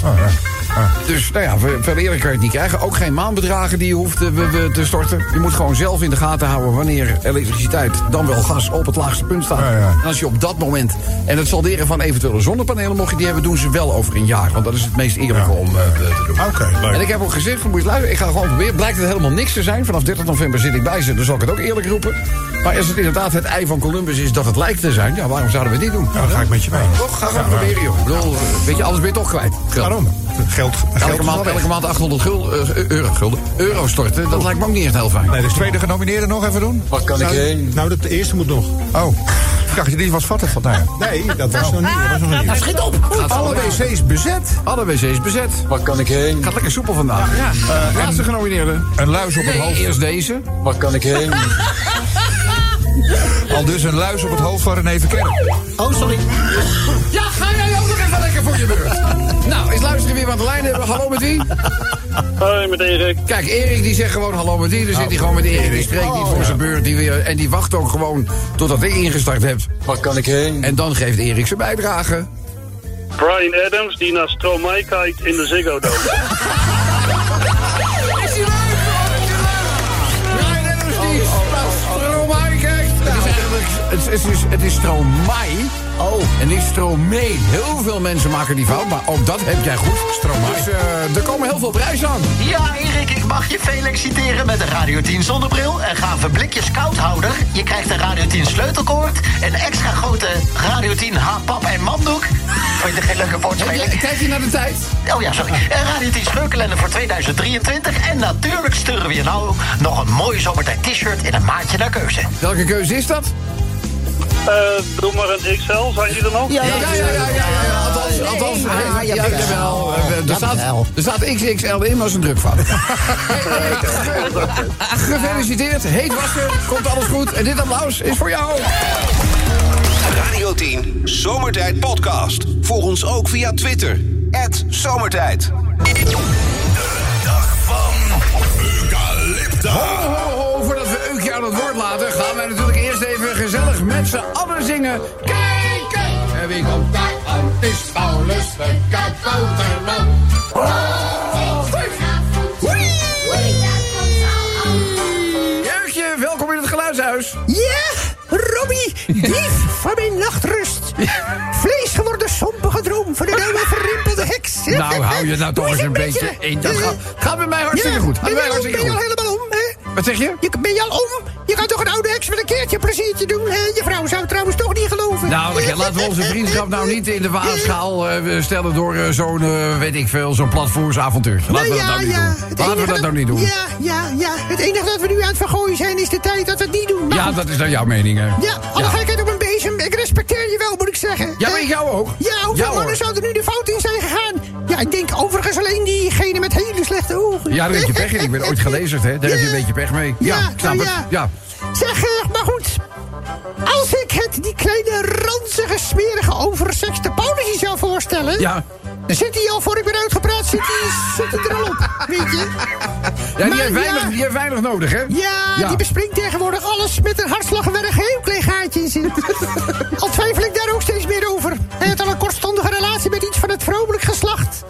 Speaker 2: Dus nou ja, ver- verder eerder kan je het niet krijgen. Ook geen maandbedragen die je hoeft eh, we- we te storten. Je moet gewoon zelf in de gaten houden wanneer elektriciteit dan wel gas op het laagste punt staat.
Speaker 5: Ja, ja.
Speaker 2: En als je op dat moment en het salderen van eventuele zonnepanelen, mocht je die hebben, doen ze wel over een jaar. Want dat is het meest eerlijke om eh, te doen.
Speaker 6: Oké, leuk.
Speaker 2: En ik heb ook gezegd, van, moet je luisteren, ik ga gewoon proberen. Blijkt het helemaal niks te zijn. Vanaf 30 november zit ik bij ze, dan zal ik het ook eerlijk roepen. Maar als het inderdaad het ei van Columbus is dat het lijkt te zijn... ja, waarom zouden we dit doen?
Speaker 6: Ja, dan ga ik met je mee.
Speaker 2: Toch, ga gewoon proberen, joh. Ik bedoel, weet je, alles ben je toch kwijt. Geld.
Speaker 6: Waarom? Geld. geld
Speaker 2: Elke
Speaker 6: is
Speaker 2: maand,
Speaker 6: wel weg.
Speaker 2: elke maand 800 gul, eh, euro, gulden, euro storten, dat lijkt me ook niet echt heel fijn.
Speaker 6: Nee, dus tweede
Speaker 5: De genomineerden nog even doen?
Speaker 8: Waar kan ik heen?
Speaker 6: Nou, dat, de eerste moet nog.
Speaker 5: Oh, ik dacht, dit was Vattenval. Nou ja.
Speaker 6: Nee, dat was nog niet. Dat was nog niet.
Speaker 7: Schiet op!
Speaker 2: Gaat
Speaker 5: Alle
Speaker 2: allemaal-
Speaker 5: wc's bezet.
Speaker 2: Alle wc's bezet.
Speaker 8: Waar kan ik heen?
Speaker 2: Gaat lekker soepel vandaag. Ja, Laatste genomineerde.
Speaker 5: Een luis op het
Speaker 2: Nee,
Speaker 5: hoofd.
Speaker 2: eerst deze.
Speaker 8: Waar kan ik heen?
Speaker 5: Al dus een luis op het hoofd van René Verkerk.
Speaker 7: Oh, sorry.
Speaker 2: Ja, ga jij ook nog even lekker voor je beurt. nou, eens luisteren wie we aan de lijn hebben. Hallo met wie?
Speaker 11: Hoi, met Erik. Oh.
Speaker 2: Kijk, Erik die zegt gewoon hallo met die. Dan zit hij gewoon met Erik. Die spreekt niet voor zijn beurt. Die weer, en die wacht ook gewoon totdat ik ingestart heb.
Speaker 8: Waar kan ik heen?
Speaker 2: En dan geeft Erik zijn bijdrage.
Speaker 11: Brian Adams die naar Stromae kijkt in de Ziggo Dome.
Speaker 2: Brian Adams die naar Stromae kijkt. oh, Nou. Het is eigenlijk, het is, het is, het is Stromae. Oh. En niet Stromae. Heel veel mensen maken die fout, maar ook dat heb jij goed. Stromae. Dus eh, er komen heel veel prijzen aan.
Speaker 7: Ja, Erik, ik mag je feliciteren met een Radio 10 zonnebril, een gave blikjes koudhouder. Je krijgt een Radio 10 sleutelkoord, een extra grote Radio 10 haarpap en manddoek. Vond je geen leuke
Speaker 2: Kijk-
Speaker 7: woordspeling?
Speaker 2: Kijk je naar de tijd?
Speaker 7: Oh ja, sorry. Een Radio 10 speurkalender voor 2023. En natuurlijk sturen we je nou nog een mooi zomertijd t-shirt in een maatje naar keuze.
Speaker 2: Welke keuze is dat?
Speaker 11: Eh, doe maar een XL, zijn die er nog?
Speaker 2: Ja, ja, ja, ja. ja, ja. Althans, althans,
Speaker 7: ah,
Speaker 2: eh,
Speaker 7: jawel.
Speaker 2: ja, jawel. Eh, Er staat,
Speaker 7: Jawel.
Speaker 2: er staat XXL in, maar is een drukfout. Hey, Erik, ge- Gefeliciteerd, heet wassen, komt alles goed. En dit applaus is voor jou.
Speaker 1: Radio 10 Zomertijd Podcast. Volg ons ook via Twitter. Zomertijd.
Speaker 2: Ho, ho, ho, voordat we Eukje aan het woord laten, gaan wij natuurlijk eerst even gezellig met z'n allen zingen. Kijken! En wie komt daar aan? Het is Paulus de Kabouterman. Eukje, welkom in het geluidshuis.
Speaker 12: Ja, Robbie, dief van mijn nachtrust. Vlees geworden sompige droom van een oude verrimpelde heks.
Speaker 2: Nou, hou je nou toch
Speaker 12: Hoe is
Speaker 2: eens
Speaker 12: het
Speaker 2: een
Speaker 12: met
Speaker 2: beetje
Speaker 12: je?
Speaker 2: in. Dat gaat, gaat bij mij hartstikke
Speaker 12: ja,
Speaker 2: goed. Gaat
Speaker 12: Ben
Speaker 2: bij mij
Speaker 12: je, al-
Speaker 2: hartstikke
Speaker 12: ben je al
Speaker 2: goed.
Speaker 12: helemaal om, hè?
Speaker 2: Wat zeg je?
Speaker 12: je ben je al om? Je kan toch een oude heks met een keertje een pleziertje doen? Hè? Je vrouw zou het trouwens toch niet geloven.
Speaker 2: Nou, weet je, laten we onze vriendschap nou niet in de waagschaal eh, stellen door eh, zo'n, eh, weet ik veel, zo'n platvoersavontuurtje. Laten we dat
Speaker 12: Nou
Speaker 2: nou niet
Speaker 12: ja, ja.
Speaker 2: doen.
Speaker 12: Het
Speaker 2: Laten we
Speaker 12: enige
Speaker 2: dat nou niet doen.
Speaker 12: Ja, ja, ja. Het enige dat we nu aan het vergooien zijn is de tijd dat we het niet doen. Maar
Speaker 2: Ja,
Speaker 12: goed.
Speaker 2: dat is dan jouw mening, hè?
Speaker 12: nou. Ja, alle gekheid op een bezem. Ik respecteer je wel, moet ik zeggen.
Speaker 2: Ja, maar
Speaker 12: Hè?
Speaker 2: jou ook.
Speaker 12: Ja, hoeveel
Speaker 2: Ja, hoor.
Speaker 12: mannen zouden nu de fout in zijn gegaan? Ja, ik denk overigens alleen diegene met hele slechte ogen.
Speaker 2: Ja, daar heb je pech in. Ik ben ooit gelezerd, hè? Daar heb je een beetje pech mee. Ja,
Speaker 12: Ja,
Speaker 2: ik snap
Speaker 12: nou
Speaker 2: het. Ja.
Speaker 12: ja. Zeg, eh, maar goed. Als ik het die kleine, ranzige, smerige, oversexte Paulusje zou voorstellen...
Speaker 2: Ja.
Speaker 12: Dan zit hij al, voor ik ben uitgepraat, zit hij zit hij er al op, weet je?
Speaker 2: Ja, die
Speaker 12: Maar
Speaker 2: heeft, weinig, die heeft weinig nodig, hè?
Speaker 12: Ja, die bespringt tegenwoordig alles met een hartslag waar een heel klein gaatje in zit. al twijfel ik daar ook steeds meer over. Hij had al een kortstondige relatie met iets van het vrouwelijk geslacht.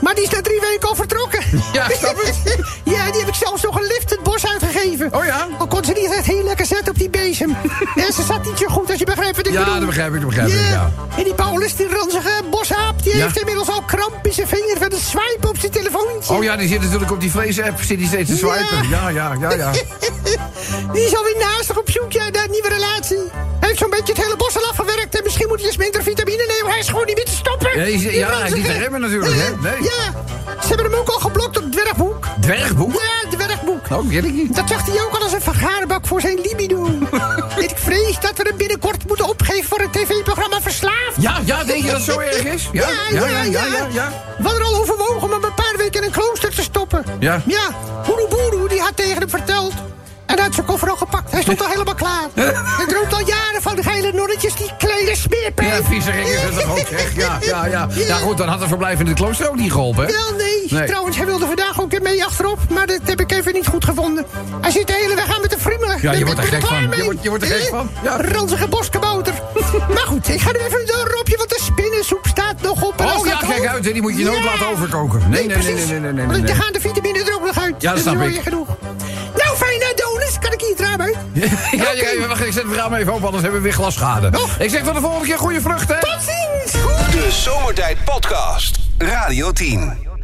Speaker 12: Maar die is na drie weken al vertrokken.
Speaker 2: Ja, snap
Speaker 12: het? ja, die heb ik zelfs nog een lift het bos uitgegeven. Oh ja? Al kon ze niet echt heel lekker zetten op die bezem. ja, ze zat niet zo goed, als je begrijpt wat ik
Speaker 2: Ja,
Speaker 12: bedoel.
Speaker 2: dat begrijp ik, dat begrijp ik, ja.
Speaker 12: En die Paulus, die ranzige boshaap, die
Speaker 2: Ja.
Speaker 12: heeft inmiddels al kramp in zijn vinger van het swipen op zijn telefoontje.
Speaker 2: Oh ja, die zit natuurlijk op die vlees-app. Zit die steeds te swipen. Ja, ja, ja, ja.
Speaker 12: Die is alweer naastig op zoek ja, naar een nieuwe relatie. Hij heeft zo'n beetje het hele bos al afgewerkt. En misschien moet hij eens minder vitamine nemen. Hij is gewoon niet meer te stoppen.
Speaker 2: Ja, hij is-
Speaker 12: Die
Speaker 2: ja, hij is
Speaker 12: ranzige.
Speaker 2: niet te remmen natuurlijk, hè?
Speaker 12: Eh,
Speaker 2: Nee.
Speaker 12: Ja, ze hebben hem ook al geblokt op Dwergboek.
Speaker 2: Dwergboek?
Speaker 12: Ja, Dwergboek.
Speaker 2: Oh, weet ik niet.
Speaker 12: Dat zag hij ook al als een vergaarbak voor zijn libido. ik vrees dat we hem binnenkort moeten opgeven voor een tv-programma Verslaafd.
Speaker 2: Ja, ja, denk je dat het zo erg is? Ja, ja, ja, ja, ja, ja.
Speaker 12: We hadden al overwogen om hem een paar weken in een klooster te stoppen.
Speaker 2: Ja.
Speaker 12: Ja, Hoeroeboeroe, die had tegen hem verteld. En hij had zijn koffer al gepakt. Hij stond al helemaal klaar. Hij droomt al jaren van de geile nonnetjes, die kleine smeerpen.
Speaker 2: Ja, vieze ringen is het ook, echt. Ja, ja, ja. Ja, goed, dan had een verblijf in het klooster ook niet geholpen, hè?
Speaker 12: Wel, nee.
Speaker 2: Nee.
Speaker 12: Trouwens, hij wilde vandaag ook weer mee achterop. Maar dat heb ik even niet goed gevonden. Hij zit de hele weg aan met de friemelen.
Speaker 2: Ja, je wordt er
Speaker 12: Ik ben
Speaker 2: gek van.
Speaker 12: klaar
Speaker 2: Je
Speaker 12: mee.
Speaker 2: wordt- je wordt er gek
Speaker 12: Eh,
Speaker 2: van. Ja.
Speaker 12: Ranzige boskabouter. maar goed, ik ga nu even door, Robje, want de spinnensoep staat nog op. En als
Speaker 2: Oh ja,
Speaker 12: dat
Speaker 2: kijk
Speaker 12: hoofd-
Speaker 2: uit, hè. Die moet je nooit
Speaker 12: Ja.
Speaker 2: laten overkoken. Nee, nee, nee,
Speaker 12: precies.
Speaker 2: nee, nee, nee, nee,
Speaker 12: Want
Speaker 2: nee.
Speaker 12: dan gaan de vitamine er ook nog uit.
Speaker 2: Ja, dat
Speaker 12: is
Speaker 2: snap
Speaker 12: wel
Speaker 2: ik.
Speaker 12: weer genoeg. Nou, fijne donuts. Kan ik hier het raam uit?
Speaker 2: Ja, ja, ja, wacht, ik zet het raam even open, anders hebben we weer glasschade. Ik zeg tot de volgende keer goede vruchten.
Speaker 12: Tot ziens!
Speaker 1: De Zomertijd Podcast. Radio 10.